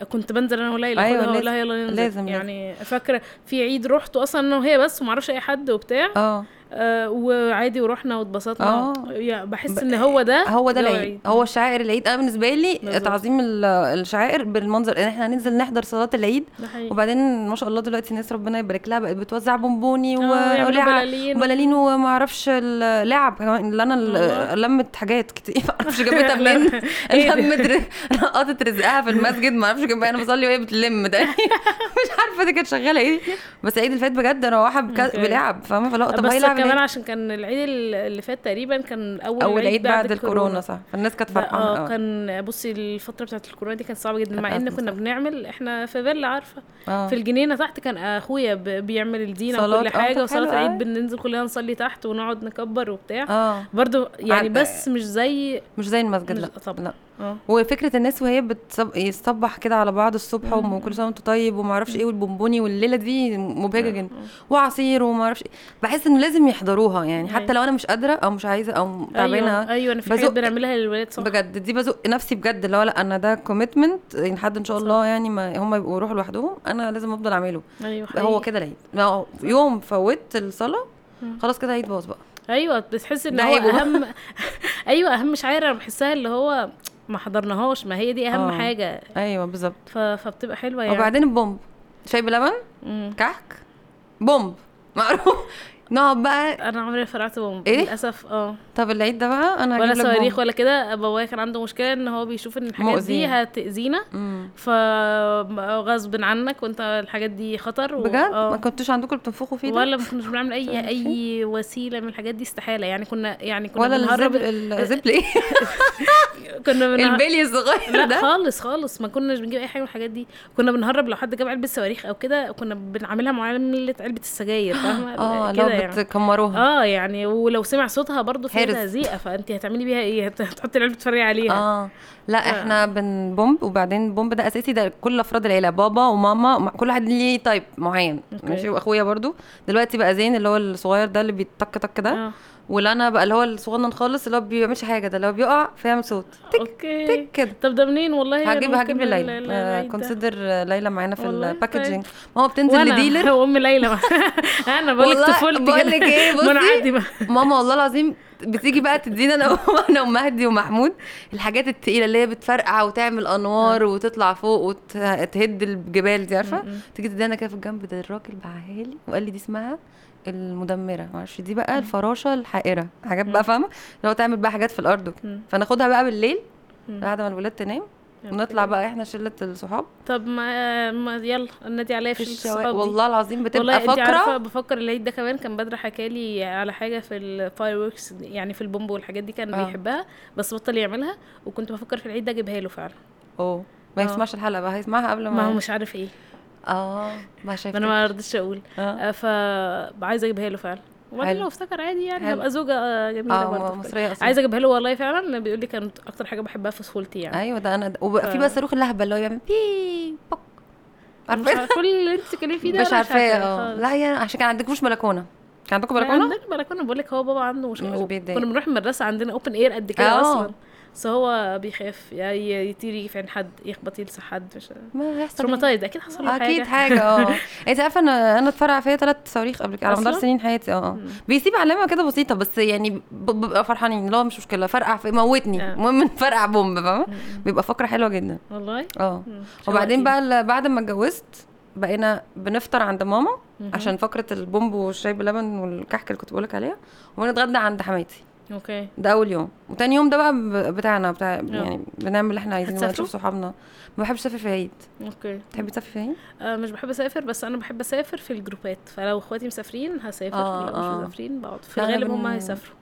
[SPEAKER 1] آه، كنت بنزل انا وليلى
[SPEAKER 2] أيوة،
[SPEAKER 1] أخدها
[SPEAKER 2] لازم-
[SPEAKER 1] وأقولها يلا ننزل
[SPEAKER 2] لازم-
[SPEAKER 1] يعني فاكره في عيد رحته اصلا انا وهي بس ومعرفش اي حد وبتاع
[SPEAKER 2] اه
[SPEAKER 1] آه وعادي ورحنا واتبسطنا
[SPEAKER 2] آه.
[SPEAKER 1] يعني بحس
[SPEAKER 2] ب- آه.
[SPEAKER 1] ان هو ده
[SPEAKER 2] هو ده العيد
[SPEAKER 1] العيد
[SPEAKER 2] هو شعائر العيد انا بالنسبه لي
[SPEAKER 1] بالظبط.
[SPEAKER 2] تعظيم ال- الشعائر بالمنظر ان احنا هننزل نحضر صلاه العيد
[SPEAKER 1] ده حقيقي
[SPEAKER 2] وبعدين ما شاء الله دلوقتي ناس ربنا يبارك لها بقت بتوزع بونبوني
[SPEAKER 1] آه، يعملوا
[SPEAKER 2] وقلاع
[SPEAKER 1] بلالين
[SPEAKER 2] بلالين وما اعرفش اللعب كمان اللي انا
[SPEAKER 1] والله.
[SPEAKER 2] ال- لمت حاجات كتير ما اعرفش جابتها منين
[SPEAKER 1] إيه ده؟
[SPEAKER 2] لمت ر- لقطت رزقها في المسجد ما اعرفش جابها انا بصلي وهي بتلم ده مش عارفه دي كانت شغاله ايه بس عيد اللي فات بجد روحه بك-
[SPEAKER 1] أوكي.
[SPEAKER 2] بلعب فاهمه فلا طب
[SPEAKER 1] بس
[SPEAKER 2] هي لعب
[SPEAKER 1] كمان
[SPEAKER 2] إيه؟
[SPEAKER 1] عشان كان العيد اللي فات تقريبا كان اول,
[SPEAKER 2] اول عيد بعد الكورونا صح فالناس كانت
[SPEAKER 1] ده-
[SPEAKER 2] فرحانه
[SPEAKER 1] اه
[SPEAKER 2] أوي.
[SPEAKER 1] كان بصي الفتره بتاعت الكورونا دي كانت صعبه جدا
[SPEAKER 2] آه. كانت
[SPEAKER 1] مع ان
[SPEAKER 2] أزمة
[SPEAKER 1] كنا
[SPEAKER 2] صح.
[SPEAKER 1] بنعمل احنا في فيلا عارفه
[SPEAKER 2] اه
[SPEAKER 1] في الجنينه تحت كان اخويا ب- بيعمل الدينه
[SPEAKER 2] صلاة،
[SPEAKER 1] وكل
[SPEAKER 2] آه،
[SPEAKER 1] حاجه
[SPEAKER 2] طب
[SPEAKER 1] وصلاه
[SPEAKER 2] حلو
[SPEAKER 1] العيد
[SPEAKER 2] أوي.
[SPEAKER 1] بننزل كلنا نصلي تحت ونقعد نكبر وبتاع
[SPEAKER 2] اه
[SPEAKER 1] برضو يعني
[SPEAKER 2] عن-
[SPEAKER 1] بس مش زي
[SPEAKER 2] مش زي المسجد
[SPEAKER 1] مش-
[SPEAKER 2] لا
[SPEAKER 1] طبعا.
[SPEAKER 2] لا
[SPEAKER 1] اه
[SPEAKER 2] وفكره الناس وهي بتصبح كده على بعض الصبح
[SPEAKER 1] مم.
[SPEAKER 2] وكل سنه وانت طيب وما اعرفش ايه والبونبوني والليله دي مبهجه جدا
[SPEAKER 1] آه.
[SPEAKER 2] وعصير وما اعرفش إيه. بحس انه لازم يحضروها يعني حتى
[SPEAKER 1] أيوة.
[SPEAKER 2] لو انا مش قادره او مش عايزه او
[SPEAKER 1] ايوه
[SPEAKER 2] تعبانه
[SPEAKER 1] ايوه انا في حاجات
[SPEAKER 2] بزق-
[SPEAKER 1] بنعملها للولاد صح
[SPEAKER 2] بجد دي بزق نفسي بجد اللي هو لا انا ده كوميتمنت لحد ان شاء
[SPEAKER 1] صح.
[SPEAKER 2] الله يعني ما هم يبقوا يروحوا لوحدهم انا لازم افضل اعمله
[SPEAKER 1] ايوه
[SPEAKER 2] هو
[SPEAKER 1] حقيقي.
[SPEAKER 2] كده العيد ما هو يوم فوتت الصلاه
[SPEAKER 1] مم.
[SPEAKER 2] خلاص كده عيد باظ بقى
[SPEAKER 1] ايوه بتحس ان
[SPEAKER 2] ده
[SPEAKER 1] هو
[SPEAKER 2] عيبه.
[SPEAKER 1] اهم ايوه اهم شعيره انا بحسها اللي هو ما حضرناهاش ما هي دي اهم
[SPEAKER 2] آه.
[SPEAKER 1] حاجه
[SPEAKER 2] ايوه بالظبط
[SPEAKER 1] ف... فبتبقى حلوه يعني
[SPEAKER 2] وبعدين البومب شاي بلبن
[SPEAKER 1] مم.
[SPEAKER 2] كحك بومب معروف نقعد بقى
[SPEAKER 1] انا عمري ما فرقت بومب
[SPEAKER 2] إيه؟
[SPEAKER 1] للاسف اه
[SPEAKER 2] طب العيد ده بقى انا
[SPEAKER 1] ولا
[SPEAKER 2] هجيب لك
[SPEAKER 1] صواريخ
[SPEAKER 2] بومب
[SPEAKER 1] ولا كده بابايا كان عنده مشكله ان هو بيشوف ان الحاجات دي
[SPEAKER 2] مؤذية.
[SPEAKER 1] هتاذينا
[SPEAKER 2] مم.
[SPEAKER 1] فغصب عنك وانت الحاجات دي خطر و...
[SPEAKER 2] بجد
[SPEAKER 1] آه.
[SPEAKER 2] ما كنتوش عندكم بتنفخوا فيه ده
[SPEAKER 1] ولا ما كناش بنعمل اي
[SPEAKER 2] صواريخ
[SPEAKER 1] اي وسيله من الحاجات دي استحاله يعني كنا يعني كنا
[SPEAKER 2] ولا
[SPEAKER 1] بنهرب
[SPEAKER 2] الزبل الزبل ايه
[SPEAKER 1] كنا بنهرب
[SPEAKER 2] البلي الصغير
[SPEAKER 1] لا
[SPEAKER 2] ده
[SPEAKER 1] خالص خالص ما كناش بنجيب اي حاجه من الحاجات دي كنا بنهرب لو حد جاب علبه صواريخ او كده كنا بنعملها معامله علبه السجاير فاهمه
[SPEAKER 2] اه لو
[SPEAKER 1] كده يعني
[SPEAKER 2] بتكمروها
[SPEAKER 1] اه يعني ولو سمع صوتها برضو فيها
[SPEAKER 2] حرز.
[SPEAKER 1] تهزيقه فانت هتعملي بيها ايه هت- هتحطي العلبه تتفرجي عليها
[SPEAKER 2] اه لا
[SPEAKER 1] آه.
[SPEAKER 2] احنا بنبومب وبعدين البومب ده اساسي ده كل افراد العيله بابا وماما مع- كل واحد ليه تايب معين
[SPEAKER 1] أوكي.
[SPEAKER 2] ماشي واخويا برضو دلوقتي بقى زين اللي هو الصغير ده اللي بيتك تك ده
[SPEAKER 1] آه.
[SPEAKER 2] ولانا بقى اللي هو الصغنن خالص اللي هو بيعملش حاجه ده اللي هو بيقع فيعمل صوت تك
[SPEAKER 1] اوكي
[SPEAKER 2] تك كده
[SPEAKER 1] طب ده منين والله
[SPEAKER 2] هجيب
[SPEAKER 1] أنا
[SPEAKER 2] هجيب
[SPEAKER 1] أيوة، ممكن
[SPEAKER 2] آه،
[SPEAKER 1] ال-
[SPEAKER 2] لليلى
[SPEAKER 1] العيد ده.
[SPEAKER 2] كونسيدر ليلى معانا في
[SPEAKER 1] والله طيب.
[SPEAKER 2] الباكجينج ما هو بتنزل
[SPEAKER 1] وانا
[SPEAKER 2] لديلر
[SPEAKER 1] هو ام ليلى انا بقول لك
[SPEAKER 2] والله
[SPEAKER 1] طفولتي
[SPEAKER 2] بقول
[SPEAKER 1] كده.
[SPEAKER 2] لك إيه، بصي.
[SPEAKER 1] منعدمة.
[SPEAKER 2] ماما والله العظيم بتيجي بقى تدينا انا وانا ومهدي ومحمود الحاجات التقيله اللي هي بتفرقع وتعمل انوار وتطلع فوق وتهد الجبال دي عارفه
[SPEAKER 1] م-م.
[SPEAKER 2] تيجي تدينا كده في الجنب ده الراجل باعها لي وقال لي دي اسمها المدمره معرفش دي بقى الفراشه الحائره حاجات بقى فاهمه اللي هو تعمل بقى حاجات في الارض وكده.
[SPEAKER 1] م.
[SPEAKER 2] فناخدها بقى بالليل
[SPEAKER 1] م.
[SPEAKER 2] بعد ما الولاد تنام ونطلع بقى احنا شله الصحاب
[SPEAKER 1] طب ما, ما يلا النادي عليا
[SPEAKER 2] في
[SPEAKER 1] في
[SPEAKER 2] الشوارع
[SPEAKER 1] الشوارع
[SPEAKER 2] والله العظيم بتبقى
[SPEAKER 1] والله انت عارفه
[SPEAKER 2] فقره
[SPEAKER 1] بفكر العيد ده كمان كان بدر حكى لي على حاجه في الفايروركس يعني في البومب والحاجات دي كان
[SPEAKER 2] اه.
[SPEAKER 1] بيحبها بس بطل يعملها وكنت بفكر في العيد ده اجيبها له فعلا
[SPEAKER 2] اه ما
[SPEAKER 1] اه.
[SPEAKER 2] يسمعش الحلقه بقى هيسمعها قبل ما
[SPEAKER 1] ما هو مش عارف ايه
[SPEAKER 2] اه ما شايف
[SPEAKER 1] ما انا ما رضيتش اقول
[SPEAKER 2] اه
[SPEAKER 1] ف عايزه اجيبها له فعلا وبعدين
[SPEAKER 2] حلو.
[SPEAKER 1] لو افتكر عادي يعني
[SPEAKER 2] حلو.
[SPEAKER 1] هبقى زوجه آه، جميله
[SPEAKER 2] اه
[SPEAKER 1] برضه
[SPEAKER 2] مصريه اصلا
[SPEAKER 1] عايزه اجيبها له والله فعلا بيقول لي كانت اكتر حاجه بحبها في طفولتي يعني
[SPEAKER 2] ايوه ده انا وبقى في
[SPEAKER 1] ف-
[SPEAKER 2] بقى صاروخ اللهبه اللي هو بيعمل بي بوك
[SPEAKER 1] مش
[SPEAKER 2] عارفاه
[SPEAKER 1] عارفة كل اللي انت بتتكلمي فيه ده
[SPEAKER 2] مش
[SPEAKER 1] أنا
[SPEAKER 2] عارفاه اه
[SPEAKER 1] خالص.
[SPEAKER 2] لا يا عشان كان عندكوش بلكونه كان عندكم
[SPEAKER 1] ما
[SPEAKER 2] بلكونه
[SPEAKER 1] عندنا بلكونه بقول لك هو بابا عنده مش
[SPEAKER 2] مش بيتضايق.
[SPEAKER 1] كنا بنروح المدرسه عندنا اوبن اير قد كده
[SPEAKER 2] اه.
[SPEAKER 1] اصلا بس هو بيخاف يا ي- يطير يجي في عين حد يخبط يلسع حد مش
[SPEAKER 2] ما هيحصل إيه؟
[SPEAKER 1] تروماتايز اكيد حصل طيب، له حاجه
[SPEAKER 2] اكيد حاجه اه انت عارفه انا انا اتفرع فيا ثلاث صواريخ قبل كده على مدار
[SPEAKER 1] أصلاً؟
[SPEAKER 2] سنين حياتي اه
[SPEAKER 1] مم.
[SPEAKER 2] بيسيب علامه كده بسيطه بس يعني ب- ببقى فرحانين لا مش مشكله فرقع في موتني
[SPEAKER 1] آه.
[SPEAKER 2] المهم فرقع بومب فاهمه
[SPEAKER 1] مم.
[SPEAKER 2] بيبقى فقره حلوه جدا
[SPEAKER 1] والله
[SPEAKER 2] اه
[SPEAKER 1] مم.
[SPEAKER 2] وبعدين
[SPEAKER 1] شوقتيني.
[SPEAKER 2] بقى ال- بعد ما اتجوزت بقينا بنفطر عند ماما
[SPEAKER 1] مهم.
[SPEAKER 2] عشان فقره البومب والشاي بلبن والكحك اللي كنت بقولك عليها وبنتغدى عند حماتي
[SPEAKER 1] اوكي
[SPEAKER 2] ده اول يوم وتاني يوم ده بقى ب- بتاعنا بتاع يعني بنعمل اللي احنا عايزينه بقى،
[SPEAKER 1] اه. هتسافروا؟
[SPEAKER 2] نشوف صحابنا ما بحبش اسافر في عيد
[SPEAKER 1] اوكي
[SPEAKER 2] تحبي تسافري في عيد
[SPEAKER 1] آه مش بحب اسافر بس انا بحب اسافر في الجروبات فلو اخواتي مسافرين هسافر
[SPEAKER 2] آه،
[SPEAKER 1] لو
[SPEAKER 2] آه.
[SPEAKER 1] مش مسافرين بقعد في
[SPEAKER 2] لا، أنا
[SPEAKER 1] الغالب
[SPEAKER 2] بن-
[SPEAKER 1] هم هيسافروا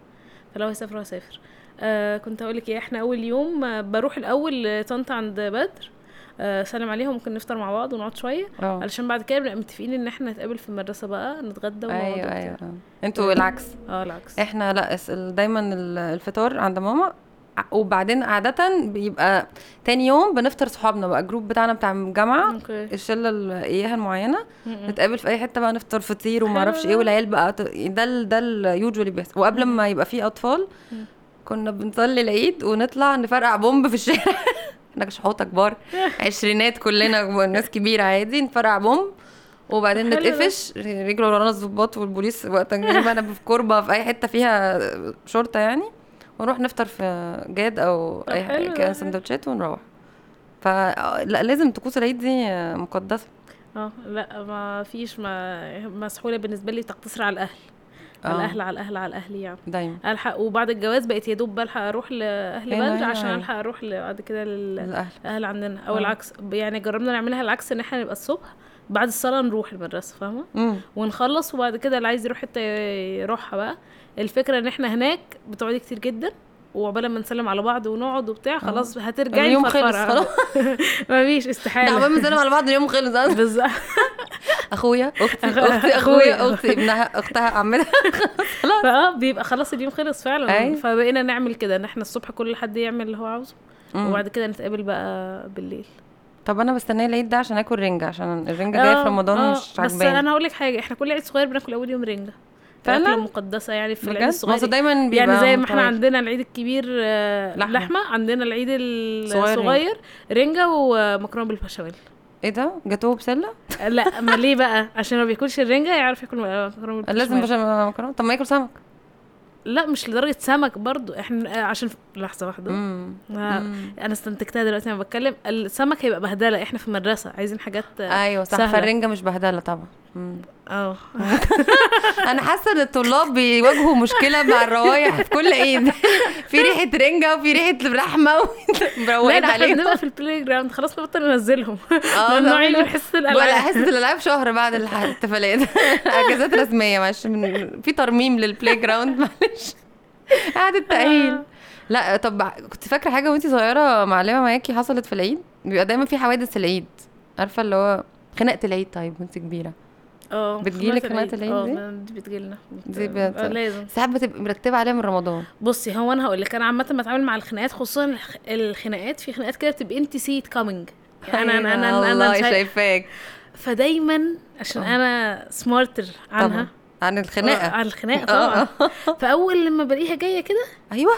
[SPEAKER 1] فلو هيسافروا هسافر آه كنت هقول لك ايه احنا اول يوم آه، بروح الاول طنط عند بدر آه سلم عليهم ممكن نفطر مع بعض ونقعد شويه
[SPEAKER 2] اه
[SPEAKER 1] علشان بعد كده بنبقى متفقين ان احنا نتقابل في المدرسه بقى نتغدى ونقعد
[SPEAKER 2] ايوه
[SPEAKER 1] وبتاع.
[SPEAKER 2] ايوه آه. انتوا العكس
[SPEAKER 1] اه العكس
[SPEAKER 2] احنا لا اس- ال- دايما ال- الفطار عند ماما ع- وبعدين عادة بيبقى تاني يوم بنفطر صحابنا بقى الجروب بتاعنا بتاع الجامعة
[SPEAKER 1] اوكي
[SPEAKER 2] الشلة ال- اياها المعينة
[SPEAKER 1] آه، م-م.
[SPEAKER 2] نتقابل في اي حته بقى نفطر فطير وما
[SPEAKER 1] حلو
[SPEAKER 2] اعرفش
[SPEAKER 1] ده.
[SPEAKER 2] ايه والعيال بقى ت- ده ال ده اليوجوالي بيحصل وقبل
[SPEAKER 1] مم.
[SPEAKER 2] ما يبقى فيه اطفال
[SPEAKER 1] مم.
[SPEAKER 2] كنا بنصلي العيد ونطلع نفرقع بومب في الشارع احنا شحوطه كبار عشرينات كلنا ناس كبيره عادي نفرقع بومب وبعدين
[SPEAKER 1] حلو ده.
[SPEAKER 2] نتقفش رجلوا ورانا الظباط والبوليس وقتها نجيب انا في كربه في اي حته فيها شرطه يعني ونروح نفطر في جاد او
[SPEAKER 1] طب
[SPEAKER 2] اي
[SPEAKER 1] حلو
[SPEAKER 2] حاجه
[SPEAKER 1] ده،
[SPEAKER 2] كده
[SPEAKER 1] حلو.
[SPEAKER 2] سندوتشات ونروح فلا لازم طقوس العيد دي مقدسه
[SPEAKER 1] اه لا ما فيش ما مسحوله بالنسبه لي تقتصر على الاهل
[SPEAKER 2] آه.
[SPEAKER 1] على الاهل على الاهل على الاهل يعني
[SPEAKER 2] دايما
[SPEAKER 1] الحق وبعد الجواز بقيت يا دوب بلحق اروح لاهل
[SPEAKER 2] أيوة،
[SPEAKER 1] بدر
[SPEAKER 2] أيوة،
[SPEAKER 1] عشان
[SPEAKER 2] أيوة.
[SPEAKER 1] الحق اروح ل- بعد كده للاهل
[SPEAKER 2] الاهل
[SPEAKER 1] عندنا او
[SPEAKER 2] آه.
[SPEAKER 1] العكس يعني جربنا نعملها العكس ان احنا نبقى الصبح بعد الصلاه نروح المدرسه فاهمه
[SPEAKER 2] امم
[SPEAKER 1] ونخلص وبعد كده اللي عايز يروح حته يروحها بقى الفكره ان احنا هناك بتقعدي كتير جدا وعقبال ما نسلم على بعض ونقعد وبتاع خلاص هترجعي
[SPEAKER 2] آه. اليوم خلص
[SPEAKER 1] مفرفرة.
[SPEAKER 2] خلاص
[SPEAKER 1] مفيش
[SPEAKER 2] ده عمال
[SPEAKER 1] استحاله
[SPEAKER 2] بنسلم على بعض اليوم خلص أنا-
[SPEAKER 1] بالظبط
[SPEAKER 2] اخويا اختي اختي اخويا
[SPEAKER 1] أخويا.
[SPEAKER 2] اختي ابنها اختها عمتها
[SPEAKER 1] فاه بيبقى خلاص اليوم خلص فعلا
[SPEAKER 2] أيوة.
[SPEAKER 1] فبقينا نعمل كده ان احنا الصبح كل حد يعمل اللي هو عاوزه
[SPEAKER 2] أمم.
[SPEAKER 1] وبعد كده نتقابل بقى بالليل
[SPEAKER 2] طب انا بستناه العيد ده عشان اكل رنجه عشان الرنجه جايه في
[SPEAKER 1] آه، آه،
[SPEAKER 2] رمضان مش
[SPEAKER 1] بس
[SPEAKER 2] عجباني
[SPEAKER 1] انا هقول لك حاجه احنا كل عيد صغير بناكل اول يوم رنجه
[SPEAKER 2] فعلا؟
[SPEAKER 1] فعلا مقدسه يعني في العيد
[SPEAKER 2] بجد
[SPEAKER 1] الصغير
[SPEAKER 2] مصر دايما بيبقى
[SPEAKER 1] يعني زي ما احنا
[SPEAKER 2] متوافق.
[SPEAKER 1] عندنا العيد الكبير آه،
[SPEAKER 2] لحمة.
[SPEAKER 1] لحمه, عندنا العيد
[SPEAKER 2] صغير
[SPEAKER 1] الصغير رنجه ومكرونه بالبشاميل
[SPEAKER 2] ايه ده جاتوه بسله
[SPEAKER 1] لا ما ليه بقى عشان ما بياكلش الرنجه يعرف ياكل مكرونه بالبشاميل
[SPEAKER 2] لازم بشاميل مكرونه طب ما ياكل سمك
[SPEAKER 1] لا مش لدرجه سمك برضو احنا آه، عشان لحظه واحده
[SPEAKER 2] امم
[SPEAKER 1] آه،
[SPEAKER 2] أمم.
[SPEAKER 1] انا استنتجتها دلوقتي انا بتكلم السمك هيبقى بهدله احنا في المدرسه عايزين حاجات اه
[SPEAKER 2] ايوه صح
[SPEAKER 1] سهلة.
[SPEAKER 2] فالرنجه مش بهدله طبعا أمم.
[SPEAKER 1] آه.
[SPEAKER 2] انا حاسه ان الطلاب بيواجهوا مشكله مع الروايح في كل عيد في ريحه رنجه وفي ريحه لحمه
[SPEAKER 1] لا
[SPEAKER 2] مروقين
[SPEAKER 1] ده احنا
[SPEAKER 2] عليهم
[SPEAKER 1] بنبقى في البلاي جراوند خلاص نبطل ننزلهم
[SPEAKER 2] اه
[SPEAKER 1] ممنوعين
[SPEAKER 2] بقول-
[SPEAKER 1] من حصه
[SPEAKER 2] ولا
[SPEAKER 1] الالعاب
[SPEAKER 2] حصه الالعاب شهر بعد الح- الاحتفالات اجازات رسميه معلش من- في ترميم للبلاي جراوند معلش قعدة تأهيل
[SPEAKER 1] آه.
[SPEAKER 2] لا طب كنت فاكره حاجه وانتي صغيره معلمه معاكي حصلت في العيد بيبقى دايما في حوادث العيد عارفه اللي هو خناقه العيد طيب وانت كبيره
[SPEAKER 1] اه
[SPEAKER 2] بتجيلك آه،
[SPEAKER 1] خناقة
[SPEAKER 2] خناقة العيد دي؟
[SPEAKER 1] اه دي بتجيلنا بت-
[SPEAKER 2] دي بت-
[SPEAKER 1] آه، لازم
[SPEAKER 2] ساعات بتبقي مرتبه عليها من رمضان
[SPEAKER 1] بصي هو انا هقول لك انا عامه بتعامل مع الخناقات خصوصا الخ- الخناقات في خناقات كده بتبقى انت سي ات كامينج انا انا انا انا,
[SPEAKER 2] أيوة، والله
[SPEAKER 1] مش عارف-
[SPEAKER 2] شايفاك
[SPEAKER 1] فدايما عشان
[SPEAKER 2] آه.
[SPEAKER 1] انا سمارتر عنها
[SPEAKER 2] طبعاً. عن
[SPEAKER 1] آه،
[SPEAKER 2] الخناقه
[SPEAKER 1] على الخناقه
[SPEAKER 2] آه،
[SPEAKER 1] طبعا فاول لما بلاقيها جايه كده
[SPEAKER 2] ايوه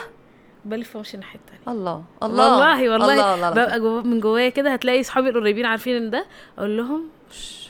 [SPEAKER 1] بلف وامشي الناحيه التانيه
[SPEAKER 2] الله الله
[SPEAKER 1] والله والله
[SPEAKER 2] الله الله, الله.
[SPEAKER 1] ببقى جوا من جوايا كده هتلاقي صحابي القريبين عارفين ان ده اقول لهم "شش،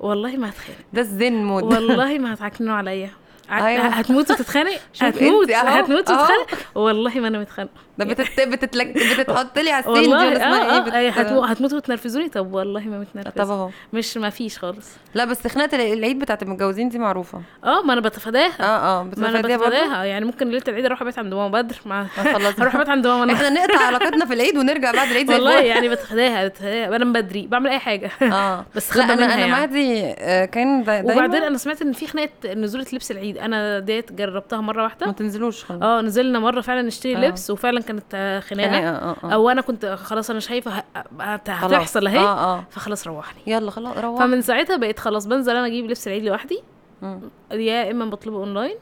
[SPEAKER 1] والله ما هتخانق
[SPEAKER 2] ده الزين مود
[SPEAKER 1] والله ما هتعكننوا عليا عت-
[SPEAKER 2] أيوة.
[SPEAKER 1] هتموت وتتخانق
[SPEAKER 2] شوف
[SPEAKER 1] هتموت
[SPEAKER 2] انت أهو،
[SPEAKER 1] هتموت
[SPEAKER 2] أهو.
[SPEAKER 1] وتتخانق والله ما انا متخانقه
[SPEAKER 2] ده بتت... بتتلك... بتتحط لي على السين دي
[SPEAKER 1] والله
[SPEAKER 2] ولا اسمها
[SPEAKER 1] اه
[SPEAKER 2] ايه
[SPEAKER 1] اه آه،
[SPEAKER 2] بت-
[SPEAKER 1] هتمو- هتموتوا وتنرفزوني طب والله ما متنرفزه
[SPEAKER 2] طب اهو
[SPEAKER 1] مش ما فيش خالص
[SPEAKER 2] لا بس خناقه الع- العيد بتاعت المتجوزين دي معروفه
[SPEAKER 1] اه ما انا بتفاداها
[SPEAKER 2] اه اه
[SPEAKER 1] ما انا
[SPEAKER 2] بتتفاديها برضه
[SPEAKER 1] بتفاداها يعني ممكن ليله العيد اروح ابات عند ماما بدر مع
[SPEAKER 2] خلاص.
[SPEAKER 1] اروح ابات عند ماما نهى.
[SPEAKER 2] احنا نقطع علاقتنا في العيد ونرجع بعد العيد زي
[SPEAKER 1] والله
[SPEAKER 2] الفل.
[SPEAKER 1] يعني بتفاداها بتفاداها بنام بدري بعمل اي حاجه
[SPEAKER 2] اه
[SPEAKER 1] بس
[SPEAKER 2] لا
[SPEAKER 1] خبى
[SPEAKER 2] انا
[SPEAKER 1] منها
[SPEAKER 2] انا
[SPEAKER 1] يعني.
[SPEAKER 2] مهدي آه، كان دا- دايما
[SPEAKER 1] وبعدين انا سمعت ان في خناقه نزوله لبس العيد انا ديت جربتها مره
[SPEAKER 2] ما
[SPEAKER 1] واحده
[SPEAKER 2] تنزلوش خلاص
[SPEAKER 1] اه نزلنا مره فعلا نشتري
[SPEAKER 2] آه.
[SPEAKER 1] لبس وفعلا كانت آه، خناقه
[SPEAKER 2] خناقه اه اه
[SPEAKER 1] او انا كنت خلاص انا شايفه ه- هت-
[SPEAKER 2] خلاص. آه.
[SPEAKER 1] هتحصل اهي
[SPEAKER 2] اه اه
[SPEAKER 1] فخلاص روحني
[SPEAKER 2] يلا خلاص روح
[SPEAKER 1] فمن ساعتها بقيت خلاص بنزل انا اجيب لبس العيد لوحدي
[SPEAKER 2] مم.
[SPEAKER 1] يا اما بطلبه اونلاين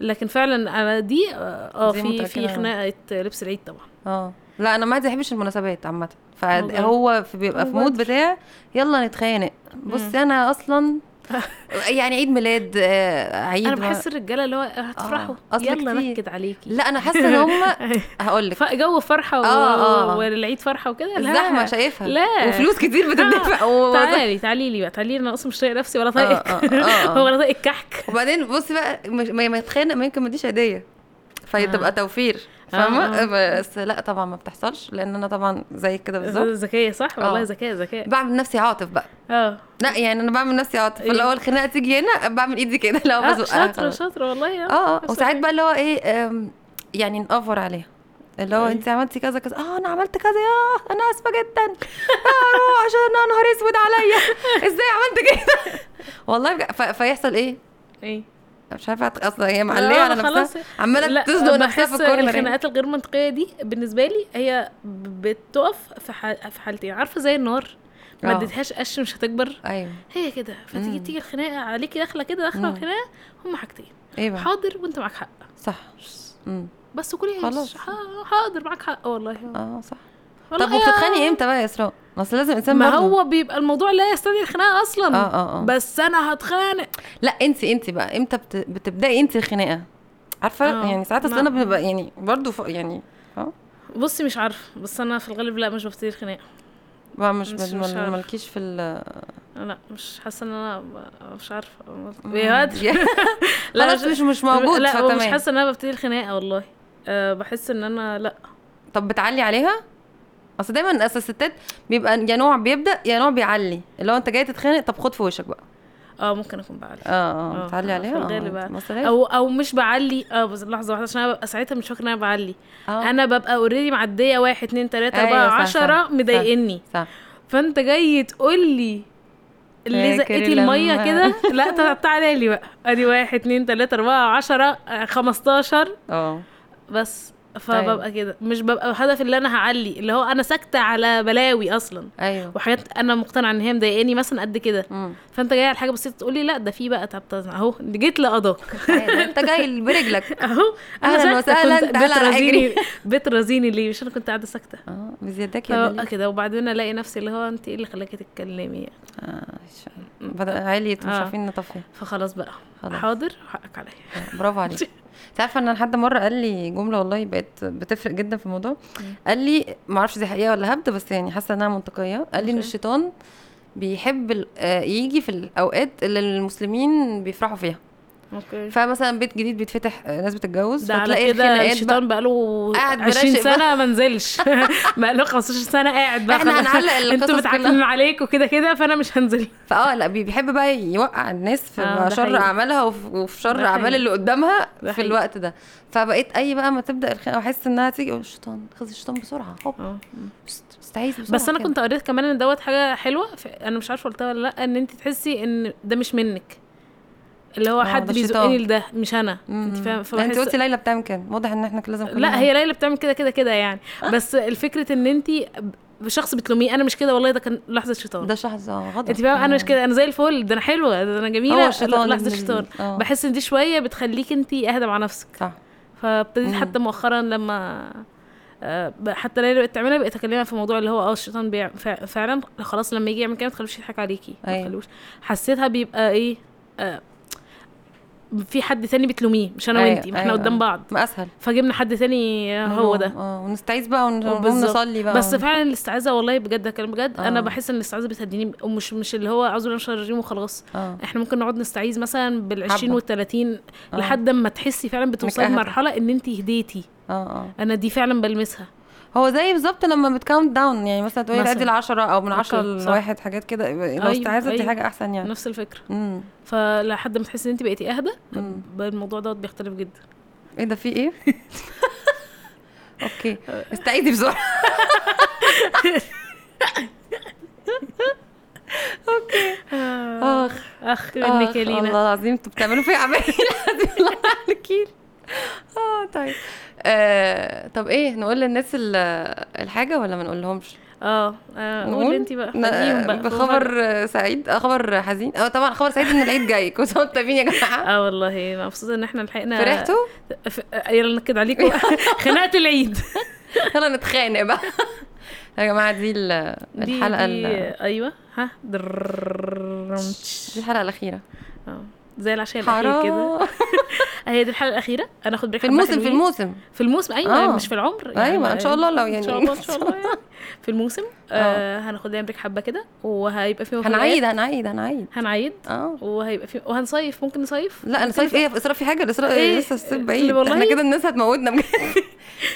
[SPEAKER 1] لكن فعلا انا دي اه آه،
[SPEAKER 2] دي
[SPEAKER 1] في في
[SPEAKER 2] متأكدة.
[SPEAKER 1] خناقه لبس العيد طبعا
[SPEAKER 2] اه لا انا ما يحبش المناسبات عامه
[SPEAKER 1] والله.
[SPEAKER 2] فهو في- بيبقى في
[SPEAKER 1] هو
[SPEAKER 2] مود
[SPEAKER 1] بدر.
[SPEAKER 2] بتاع يلا نتخانق بص انا اصلا يعني عيد ميلاد آه، عيد
[SPEAKER 1] انا
[SPEAKER 2] ما-
[SPEAKER 1] بحس الرجاله اللي هو هتفرحوا
[SPEAKER 2] أصل
[SPEAKER 1] يلا
[SPEAKER 2] كتير.
[SPEAKER 1] نكد عليكي
[SPEAKER 2] آه. لا انا حاسه ان هم هقول لك
[SPEAKER 1] ف- جو فرحه و...
[SPEAKER 2] آه، آه.
[SPEAKER 1] والعيد فرحه وكده لا.
[SPEAKER 2] الزحمه شايفها
[SPEAKER 1] لا. اه.
[SPEAKER 2] وفلوس كتير بتدفع و...
[SPEAKER 1] تعالي تعالي لي بقى تعالي لي، انا اصلا مش طايقه نفسي ولا طايقك
[SPEAKER 2] آه، آه، آه.
[SPEAKER 1] ولا طايق الكحك
[SPEAKER 2] وبعدين بصي بقى مش- ما ما يتخانق ما يمكن ما اديش هديه فهتبقى
[SPEAKER 1] آه.
[SPEAKER 2] توفير
[SPEAKER 1] آه،
[SPEAKER 2] فاهمه
[SPEAKER 1] آه.
[SPEAKER 2] بس لا طبعا ما بتحصلش لان انا طبعا زيك كده بالظبط
[SPEAKER 1] ذكيه صح والله
[SPEAKER 2] آه.
[SPEAKER 1] ذكيه ذكيه
[SPEAKER 2] بعمل نفسي عاطف بقى
[SPEAKER 1] اه
[SPEAKER 2] لا يعني انا بعمل نفسي عاطف
[SPEAKER 1] إيه.
[SPEAKER 2] اللي هو الخناقه تيجي هنا بعمل ايدي كده لو
[SPEAKER 1] آه،
[SPEAKER 2] بزقها
[SPEAKER 1] شاطره
[SPEAKER 2] خلاص.
[SPEAKER 1] شاطره والله آه.
[SPEAKER 2] اه
[SPEAKER 1] بس
[SPEAKER 2] وساعات
[SPEAKER 1] أوكي.
[SPEAKER 2] بقى اللي هو ايه آم، يعني نقفر عليها اللي هو
[SPEAKER 1] إيه.
[SPEAKER 2] انت عملتي كذا كذا اه انا عملت كذا ياه انا اسفه جدا آه، روح عشان انا نهار اسود عليا ازاي عملت كده والله بجد- ف- فيحصل ايه
[SPEAKER 1] ايه
[SPEAKER 2] مش عارفه أت- اصلا هي معليه على
[SPEAKER 1] آه، خلاص.
[SPEAKER 2] نفسها عماله
[SPEAKER 1] لا،
[SPEAKER 2] تزنق نفسها في
[SPEAKER 1] بحس
[SPEAKER 2] الكورنر يعني.
[SPEAKER 1] الخناقات الغير منطقيه دي بالنسبه لي هي ب- بتقف في ح- في حالتين عارفه زي النار ما
[SPEAKER 2] آه.
[SPEAKER 1] اديتهاش قش مش هتكبر
[SPEAKER 2] ايوه
[SPEAKER 1] هي كده فتيجي
[SPEAKER 2] مم.
[SPEAKER 1] تيجي الخناقه عليكي داخله كده داخله
[SPEAKER 2] مم.
[SPEAKER 1] الخناقه هم حاجتين
[SPEAKER 2] ايه بقى
[SPEAKER 1] حاضر وانت معاك حق
[SPEAKER 2] صح امم
[SPEAKER 1] بس كلي
[SPEAKER 2] خلاص.
[SPEAKER 1] خلاص حاضر معاك حق آه والله
[SPEAKER 2] اه صح
[SPEAKER 1] والله
[SPEAKER 2] طب
[SPEAKER 1] يا-
[SPEAKER 2] وبتتخانقي امتى بقى يا اسراء؟ ما اصل لازم انسان
[SPEAKER 1] ما
[SPEAKER 2] برضه-
[SPEAKER 1] هو بيبقى الموضوع لا يستدعي الخناقه اصلا
[SPEAKER 2] اه اه اه
[SPEAKER 1] بس انا هتخانق
[SPEAKER 2] لا انت انت بقى امتى بت... بتبداي انت الخناقه عارفه
[SPEAKER 1] آه.
[SPEAKER 2] يعني ساعات اصل
[SPEAKER 1] ما-
[SPEAKER 2] انا بنبقى يعني برضه ف... يعني
[SPEAKER 1] بصي مش عارفه بس انا في الغالب لا مش ببتدي الخناقه
[SPEAKER 2] بقى مش
[SPEAKER 1] مش-
[SPEAKER 2] مش
[SPEAKER 1] مش عارفة.
[SPEAKER 2] مالكيش في ال
[SPEAKER 1] لا مش حاسه ان انا ب- مش عارفه يا
[SPEAKER 2] مم.
[SPEAKER 1] واد.
[SPEAKER 2] لا آه. خلاص مش مش موجود
[SPEAKER 1] لا هو مش
[SPEAKER 2] فتمام
[SPEAKER 1] حاسه ان انا ببتدي الخناقه والله أه بحس ان انا لا
[SPEAKER 2] طب بتعلي عليها اصل دايما اصل الستات بيبقى يا نوع بيبدا يا نوع بيعلي اللي هو انت جاي تتخانق طب خد في وشك بقى
[SPEAKER 1] اه ممكن اكون بعلي
[SPEAKER 2] اه اه
[SPEAKER 1] آه،
[SPEAKER 2] بتعلي
[SPEAKER 1] في
[SPEAKER 2] عليها
[SPEAKER 1] الغالب بقى.
[SPEAKER 2] اه
[SPEAKER 1] او او مش بعلي اه بس لحظه واحده عشان انا ببقى ساعتها مش فاكره ان انا بعلي
[SPEAKER 2] آه.
[SPEAKER 1] انا ببقى اوريدي معديه واحد اتنين تلاته اربعه
[SPEAKER 2] أيوة، صح، صح،
[SPEAKER 1] عشره
[SPEAKER 2] صح.
[SPEAKER 1] مضايقني
[SPEAKER 2] صح
[SPEAKER 1] فانت جاي تقول لي اللي
[SPEAKER 2] فاكر
[SPEAKER 1] زقتي الميه
[SPEAKER 2] لما-
[SPEAKER 1] كده لا طب تعالى لي بقى ادي واحد اتنين تلاته اربعه عشره آه، خمستاشر
[SPEAKER 2] اه
[SPEAKER 1] بس فببقى
[SPEAKER 2] طيب.
[SPEAKER 1] كده مش ببقى هدف اللي انا هعلي اللي هو انا ساكته على بلاوي اصلا
[SPEAKER 2] ايوه
[SPEAKER 1] وحاجات انا مقتنعه ان هي مضايقاني مثلا قد كده
[SPEAKER 2] مم.
[SPEAKER 1] فانت جاي على حاجه بسيطه تقول لي لا ده في بقى طب طب اهو جيت لقضاك
[SPEAKER 2] تعالى، انت جاي برجلك
[SPEAKER 1] اهو
[SPEAKER 2] أهلاً
[SPEAKER 1] انا
[SPEAKER 2] وسهلاً،
[SPEAKER 1] ساكته كنت
[SPEAKER 2] تعالى على
[SPEAKER 1] بترازيني بترازيني ليه مش انا كنت قاعده ساكته
[SPEAKER 2] اه بزيادك يا
[SPEAKER 1] فببقى
[SPEAKER 2] دليل.
[SPEAKER 1] كده وبعدين الاقي نفسي اللي هو انت ايه اللي خلاكي تتكلمي يعني؟
[SPEAKER 2] اه ش- بدأ عالي مش
[SPEAKER 1] آه.
[SPEAKER 2] عارفين نطفي
[SPEAKER 1] فخلاص بقى
[SPEAKER 2] خلاص.
[SPEAKER 1] حاضر حقك عليا
[SPEAKER 2] برافو عليك انت عارفه ان أنا حد مره قال لي جمله والله بقت بتفرق جدا في الموضوع قال لي ما اعرفش دي حقيقه ولا هبد بس يعني حاسه انها منطقيه قال لي ان
[SPEAKER 1] أوكي.
[SPEAKER 2] الشيطان بيحب ال- آه، يجي في الاوقات اللي المسلمين بيفرحوا فيها
[SPEAKER 1] اوكي
[SPEAKER 2] فمثلا بيت جديد بيتفتح آه، ناس بتتجوز
[SPEAKER 1] ده على
[SPEAKER 2] فتلاقي
[SPEAKER 1] كده
[SPEAKER 2] الخناقات بقى
[SPEAKER 1] الشيطان بقاله
[SPEAKER 2] قاعد
[SPEAKER 1] 20
[SPEAKER 2] مراشق بقى.
[SPEAKER 1] سنه ما نزلش بقاله 15 سنه قاعد بقى
[SPEAKER 2] إحنا
[SPEAKER 1] خلاص.
[SPEAKER 2] هنعلق القصص
[SPEAKER 1] انتوا
[SPEAKER 2] كلها.
[SPEAKER 1] متعكنين عليكم كده كده فانا مش هنزل
[SPEAKER 2] فاه لا بي- بيحب بقى يوقع الناس في
[SPEAKER 1] آه،
[SPEAKER 2] آه
[SPEAKER 1] ده
[SPEAKER 2] شر
[SPEAKER 1] حقيقي.
[SPEAKER 2] اعمالها وف- وفي شر
[SPEAKER 1] ده
[SPEAKER 2] اعمال
[SPEAKER 1] حقيقي.
[SPEAKER 2] اللي قدامها
[SPEAKER 1] ده
[SPEAKER 2] في
[SPEAKER 1] حقيقي.
[SPEAKER 2] الوقت ده فبقيت اي بقى ما تبدا الخناقه واحس انها تيجي أقول الشيطان خذ الشيطان بسرعه هوب
[SPEAKER 1] اه
[SPEAKER 2] بست- استعيذ بسرعه
[SPEAKER 1] بس انا
[SPEAKER 2] كده.
[SPEAKER 1] كنت قريت كمان ان دوت حاجه حلوه ف- انا مش عارفه قلتها ولا لا ان انت تحسي ان ده مش منك اللي هو
[SPEAKER 2] آه،
[SPEAKER 1] حد
[SPEAKER 2] ده
[SPEAKER 1] بيزقني
[SPEAKER 2] الشيطان.
[SPEAKER 1] لده مش انا انت
[SPEAKER 2] مم.
[SPEAKER 1] فاهمه
[SPEAKER 2] انت
[SPEAKER 1] فبحس-
[SPEAKER 2] قلتي ليلى بتعمل كده واضح ان احنا كده لازم كلنا-
[SPEAKER 1] لا هي ليلى بتعمل كده كده كده يعني
[SPEAKER 2] آه.
[SPEAKER 1] بس الفكره ان انت شخص بتلوميه انا مش كده والله ده كان لحظه شيطان
[SPEAKER 2] ده شخص اه غضب
[SPEAKER 1] انت فاهمه انا مش كده انا زي الفل ده انا حلوه ده انا جميله
[SPEAKER 2] هو الشيطان
[SPEAKER 1] لا، لحظه
[SPEAKER 2] ابن
[SPEAKER 1] شيطان
[SPEAKER 2] ال- اه.
[SPEAKER 1] بحس ان دي شويه بتخليك انت اهدى مع نفسك
[SPEAKER 2] صح
[SPEAKER 1] فابتديت
[SPEAKER 2] مم.
[SPEAKER 1] حتى مؤخرا لما آه، ب- حتى ليلى بقت تعملها بقيت اكلمها في موضوع اللي هو اه الشيطان بيع... فع- فعلا
[SPEAKER 2] أيوه.
[SPEAKER 1] خلاص لما يجي يعمل كده ما تخلوش يضحك عليكي ما
[SPEAKER 2] ايوه.
[SPEAKER 1] تخلوش حسيتها بيبقى ايه إيه؟ آه، في حد تاني بتلوميه مش انا
[SPEAKER 2] أيوة،
[SPEAKER 1] وانتي ما احنا
[SPEAKER 2] أيوة،
[SPEAKER 1] قدام
[SPEAKER 2] أيوة.
[SPEAKER 1] بعض
[SPEAKER 2] ما اسهل
[SPEAKER 1] فجبنا حد تاني آه، هو ده آه،
[SPEAKER 2] اه ونستعيذ بقى ون- ونقوم
[SPEAKER 1] بالظبط.
[SPEAKER 2] نصلي بقى
[SPEAKER 1] بس فعلا الاستعاذه والله بجد ده كلام بجد
[SPEAKER 2] آه.
[SPEAKER 1] انا بحس ان الاستعاذه بتهديني ومش مش اللي هو اعوذ بالله من شر الرجيم وخلاص
[SPEAKER 2] اه
[SPEAKER 1] احنا ممكن نقعد نستعيذ مثلا بال 20
[SPEAKER 2] حبة.
[SPEAKER 1] وال 30
[SPEAKER 2] آه.
[SPEAKER 1] لحد ما تحسي فعلا بتوصلي
[SPEAKER 2] إنك أهدى.
[SPEAKER 1] لمرحله ان انت هديتي
[SPEAKER 2] اه اه
[SPEAKER 1] انا دي فعلا بلمسها
[SPEAKER 2] هو زي بالظبط لما بتكاونت داون يعني مثلا تقولي
[SPEAKER 1] مثلا.
[SPEAKER 2] تعدي العشرة او من عشرة
[SPEAKER 1] أوكي، صح.
[SPEAKER 2] لواحد حاجات كده لو
[SPEAKER 1] أيوة،
[SPEAKER 2] استعاذت دي
[SPEAKER 1] أيوة.
[SPEAKER 2] حاجة احسن يعني
[SPEAKER 1] نفس الفكره
[SPEAKER 2] امم
[SPEAKER 1] فلحد ما تحسي ان انت بقيتي اهدى
[SPEAKER 2] مم.
[SPEAKER 1] بقى الموضوع دوت بيختلف جدا
[SPEAKER 2] ايه ده في ايه؟ اوكي استعيدي بسرعة
[SPEAKER 1] اخ
[SPEAKER 2] اخ
[SPEAKER 1] اخ
[SPEAKER 2] آخ،
[SPEAKER 1] منك يا لينا
[SPEAKER 2] آه، الله العظيم انتوا بتعملوا فيا اعمال العظيم، الله يهلكين اه طيب آه، طب ايه نقول للناس ال- الحاجة ولا ما نقولهمش؟
[SPEAKER 1] اه آه،
[SPEAKER 2] نقول؟
[SPEAKER 1] قولي انت بقى
[SPEAKER 2] ن-
[SPEAKER 1] فديهم بقى
[SPEAKER 2] بخبر آه، سعيد آه، خبر حزين اه طبعا خبر سعيد ان العيد جاي كنتوا طيبين يا جماعة
[SPEAKER 1] اه والله أنا مبسوطه ان احنا لحقنا
[SPEAKER 2] فرحتوا؟
[SPEAKER 1] ف- يلا نكد عليكم خناقه العيد
[SPEAKER 2] يلا نتخانق بقى يا جماعه دي ال-
[SPEAKER 1] دي-
[SPEAKER 2] الحلقه
[SPEAKER 1] دي
[SPEAKER 2] ال-
[SPEAKER 1] ايوه ها درررررمتش.
[SPEAKER 2] دي الحلقه الاخيره
[SPEAKER 1] اه زي العشاء الاخير كده إيه؟
[SPEAKER 2] حرام
[SPEAKER 1] هي دي الحلقه الاخيره انا اخد بريك
[SPEAKER 2] في
[SPEAKER 1] حبة
[SPEAKER 2] الموسم في
[SPEAKER 1] حلوين.
[SPEAKER 2] الموسم
[SPEAKER 1] في الموسم ايوه
[SPEAKER 2] آه.
[SPEAKER 1] مش في العمر
[SPEAKER 2] أيوة، إن شاء الله لو
[SPEAKER 1] ان
[SPEAKER 2] يعني-
[SPEAKER 1] شاء الله ان شاء الله يعني. في الموسم آه هناخد لنا بريك حبه كده وهيبقى في مفاجآت.
[SPEAKER 2] هنعيد هنعيد هنعيد
[SPEAKER 1] هنعيد
[SPEAKER 2] اه
[SPEAKER 1] وهيبقى في وهنصيف ممكن نصيف
[SPEAKER 2] لا انا صيف ايه اسراء في حاجه الاسراء
[SPEAKER 1] إيه؟
[SPEAKER 2] إيه؟ لسه الصيف بعيد
[SPEAKER 1] والله.
[SPEAKER 2] احنا كده الناس هتموتنا بجد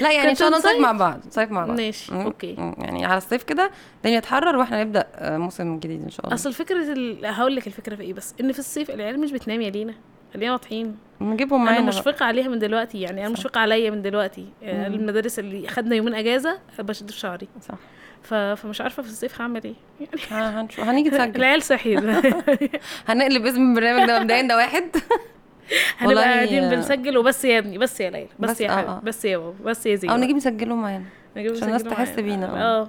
[SPEAKER 2] لا يعني ان شاء الله
[SPEAKER 1] كنت
[SPEAKER 2] نصيف مع بعض نصيف مع بعض
[SPEAKER 1] ماشي،
[SPEAKER 2] مم.
[SPEAKER 1] أوكي.
[SPEAKER 2] مم. يعني على الصيف كده الدنيا تحرر واحنا نبدا آه، موسم جديد ان شاء الله
[SPEAKER 1] اصل فكره ال... هقول لك الفكره في ايه بس ان في الصيف العيال مش بتنام يا لينا خلينا واضحين
[SPEAKER 2] نجيبهم
[SPEAKER 1] انا
[SPEAKER 2] معانا بقى.
[SPEAKER 1] مشفقه عليها من دلوقتي يعني انا
[SPEAKER 2] صح.
[SPEAKER 1] مشفقه عليا من دلوقتي آه،
[SPEAKER 2] مم.
[SPEAKER 1] المدارس اللي خدنا يومين اجازه بشد في شعري
[SPEAKER 2] صح
[SPEAKER 1] ف... فمش عارفه في الصيف هعمل ايه يعني
[SPEAKER 2] آه، هنشوف هنيجي نسجل
[SPEAKER 1] العيال صحيت
[SPEAKER 2] هنقلب اسم البرنامج ده مبدئيا ده واحد
[SPEAKER 1] هنبقى
[SPEAKER 2] والله- آه.
[SPEAKER 1] قاعدين بنسجل وبس يا ابني بس يا ليلى بس,
[SPEAKER 2] بس-
[SPEAKER 1] يا
[SPEAKER 2] آه،
[SPEAKER 1] حبيبي
[SPEAKER 2] آه.
[SPEAKER 1] بس يا بابا بس يا زينب
[SPEAKER 2] او نجيب نسجلهم معانا
[SPEAKER 1] نجيب
[SPEAKER 2] عشان الناس
[SPEAKER 1] نسجله
[SPEAKER 2] تحس
[SPEAKER 1] معانا.
[SPEAKER 2] بينا، آه.
[SPEAKER 1] اه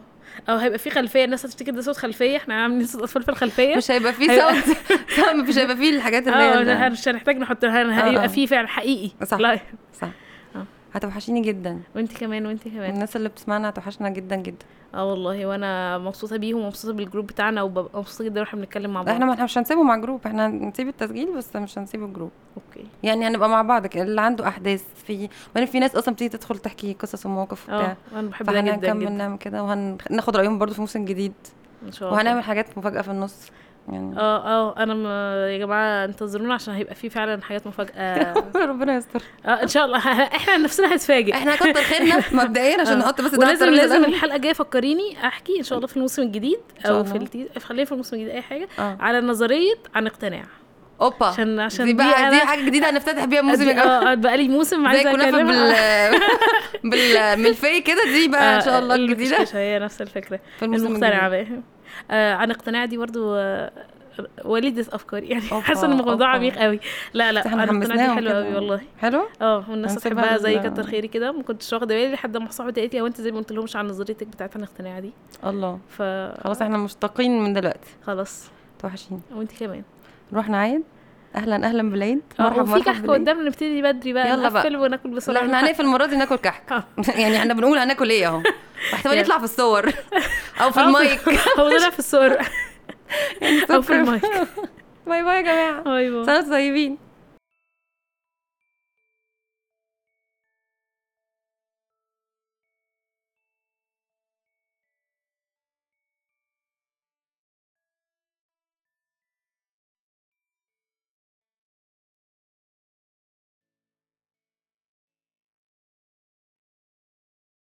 [SPEAKER 1] او هيبقى في خلفيه الناس هتفتكر ده صوت خلفيه احنا عاملين صوت اطفال في الخلفيه
[SPEAKER 2] مش هيبقى فيه
[SPEAKER 1] هيبقى-
[SPEAKER 2] ساوند ساوند مش هيبقى فيه الحاجات اللي هي
[SPEAKER 1] اه
[SPEAKER 2] ال-
[SPEAKER 1] مش هنحتاج نحط هن-
[SPEAKER 2] آه، آه.
[SPEAKER 1] هيبقى في فعلا حقيقي
[SPEAKER 2] صح.
[SPEAKER 1] لا
[SPEAKER 2] صح
[SPEAKER 1] آه.
[SPEAKER 2] هتوحشيني جدا
[SPEAKER 1] وانت كمان وانت كمان
[SPEAKER 2] الناس اللي بتسمعنا هتوحشنا جدا جدا
[SPEAKER 1] اه والله وانا مبسوطه بيهم ومبسوطه بالجروب بتاعنا وببقى مبسوطه جدا واحنا بنتكلم مع بعض
[SPEAKER 2] احنا ما احنا مش هنسيبه مع جروب احنا هنسيب التسجيل بس مش هنسيب الجروب
[SPEAKER 1] اوكي
[SPEAKER 2] يعني هنبقى مع بعض كده، اللي عنده احداث في ما في ناس اصلا بتيجي تدخل تحكي قصص ومواقف
[SPEAKER 1] اه
[SPEAKER 2] وبتاع
[SPEAKER 1] انا بحب ده جدا
[SPEAKER 2] فهنكمل
[SPEAKER 1] جدا
[SPEAKER 2] نعمل كده وهناخد رايهم برضو في موسم جديد
[SPEAKER 1] ان شاء الله
[SPEAKER 2] وهنعمل حاجات مفاجاه في النص يعني
[SPEAKER 1] اه اه انا م... يا جماعه انتظرونا عشان هيبقى في فعلا حاجات مفاجاه
[SPEAKER 2] ربنا يستر
[SPEAKER 1] اه ان شاء الله احنا نفسنا هنتفاجئ
[SPEAKER 2] احنا هنكتر خيرنا مبدئيا عشان نحط بس
[SPEAKER 1] آه.
[SPEAKER 2] ده على
[SPEAKER 1] ولازم
[SPEAKER 2] الترابيزة
[SPEAKER 1] لازم
[SPEAKER 2] الأول.
[SPEAKER 1] الحلقه الجايه فكريني احكي ان شاء الله في الموسم الجديد
[SPEAKER 2] شاء
[SPEAKER 1] او في
[SPEAKER 2] الله.
[SPEAKER 1] التي... خلينا في الموسم الجديد اي حاجه
[SPEAKER 2] آه.
[SPEAKER 1] على نظريه عن اقتناع
[SPEAKER 2] اوبا
[SPEAKER 1] عشان- عشان
[SPEAKER 2] آه. دي
[SPEAKER 1] دي
[SPEAKER 2] بقى دي
[SPEAKER 1] أنا-
[SPEAKER 2] حاجه جديده هنفتتح بيها الموسم يا
[SPEAKER 1] أدي-
[SPEAKER 2] جماعه
[SPEAKER 1] اه بقى لي موسم
[SPEAKER 2] زي
[SPEAKER 1] عايزه
[SPEAKER 2] كنافه
[SPEAKER 1] اكلمها
[SPEAKER 2] بال بالملفيه كده دي بقى ان شاء الله الجديده
[SPEAKER 1] الكشكشه آه، هي نفس الفكره
[SPEAKER 2] في الموسم
[SPEAKER 1] المقتنعه
[SPEAKER 2] الجديد.
[SPEAKER 1] بقى آه عن اقتناع دي برضو آه، وليدة افكار يعني
[SPEAKER 2] أوبا،
[SPEAKER 1] حاسه ان الموضوع
[SPEAKER 2] أوبا.
[SPEAKER 1] عميق قوي لا لا
[SPEAKER 2] احنا
[SPEAKER 1] عن اقتناع دي
[SPEAKER 2] حمسناهم
[SPEAKER 1] حلوه
[SPEAKER 2] كده.
[SPEAKER 1] قوي والله
[SPEAKER 2] حلو
[SPEAKER 1] اه والناس
[SPEAKER 2] هنسيبها
[SPEAKER 1] بتحبها زي
[SPEAKER 2] لل-
[SPEAKER 1] كتر خيري كده ما كنتش واخده بالي لحد ما صاحبتي قالت لي هو انت زي ما قلت لهمش عن نظريتك بتاعت عن الاقتناع دي
[SPEAKER 2] الله
[SPEAKER 1] ف
[SPEAKER 2] خلاص احنا مشتاقين من دلوقتي
[SPEAKER 1] خلاص
[SPEAKER 2] توحشين
[SPEAKER 1] وانت كمان
[SPEAKER 2] نروح نعيد اهلا اهلا بالعيد
[SPEAKER 1] مرحبا
[SPEAKER 2] مرحبا
[SPEAKER 1] وفي
[SPEAKER 2] مرحبا
[SPEAKER 1] كحك
[SPEAKER 2] بالعيد
[SPEAKER 1] آه، قدامنا نبتدي بدري بقى
[SPEAKER 2] يلا بقى.
[SPEAKER 1] نقفل وناكل بسرعه
[SPEAKER 2] لا، احنا هنقفل المره دي ناكل كحك
[SPEAKER 1] آه.
[SPEAKER 2] يعني احنا بنقول هناكل ايه اهو واحتمال
[SPEAKER 1] يلا.
[SPEAKER 2] يطلع في الصور او في
[SPEAKER 1] آه،
[SPEAKER 2] المايك
[SPEAKER 1] هو طلع في الصور او في المايك
[SPEAKER 2] باي باي يا جماعه
[SPEAKER 1] ايوه
[SPEAKER 2] سنه طيبين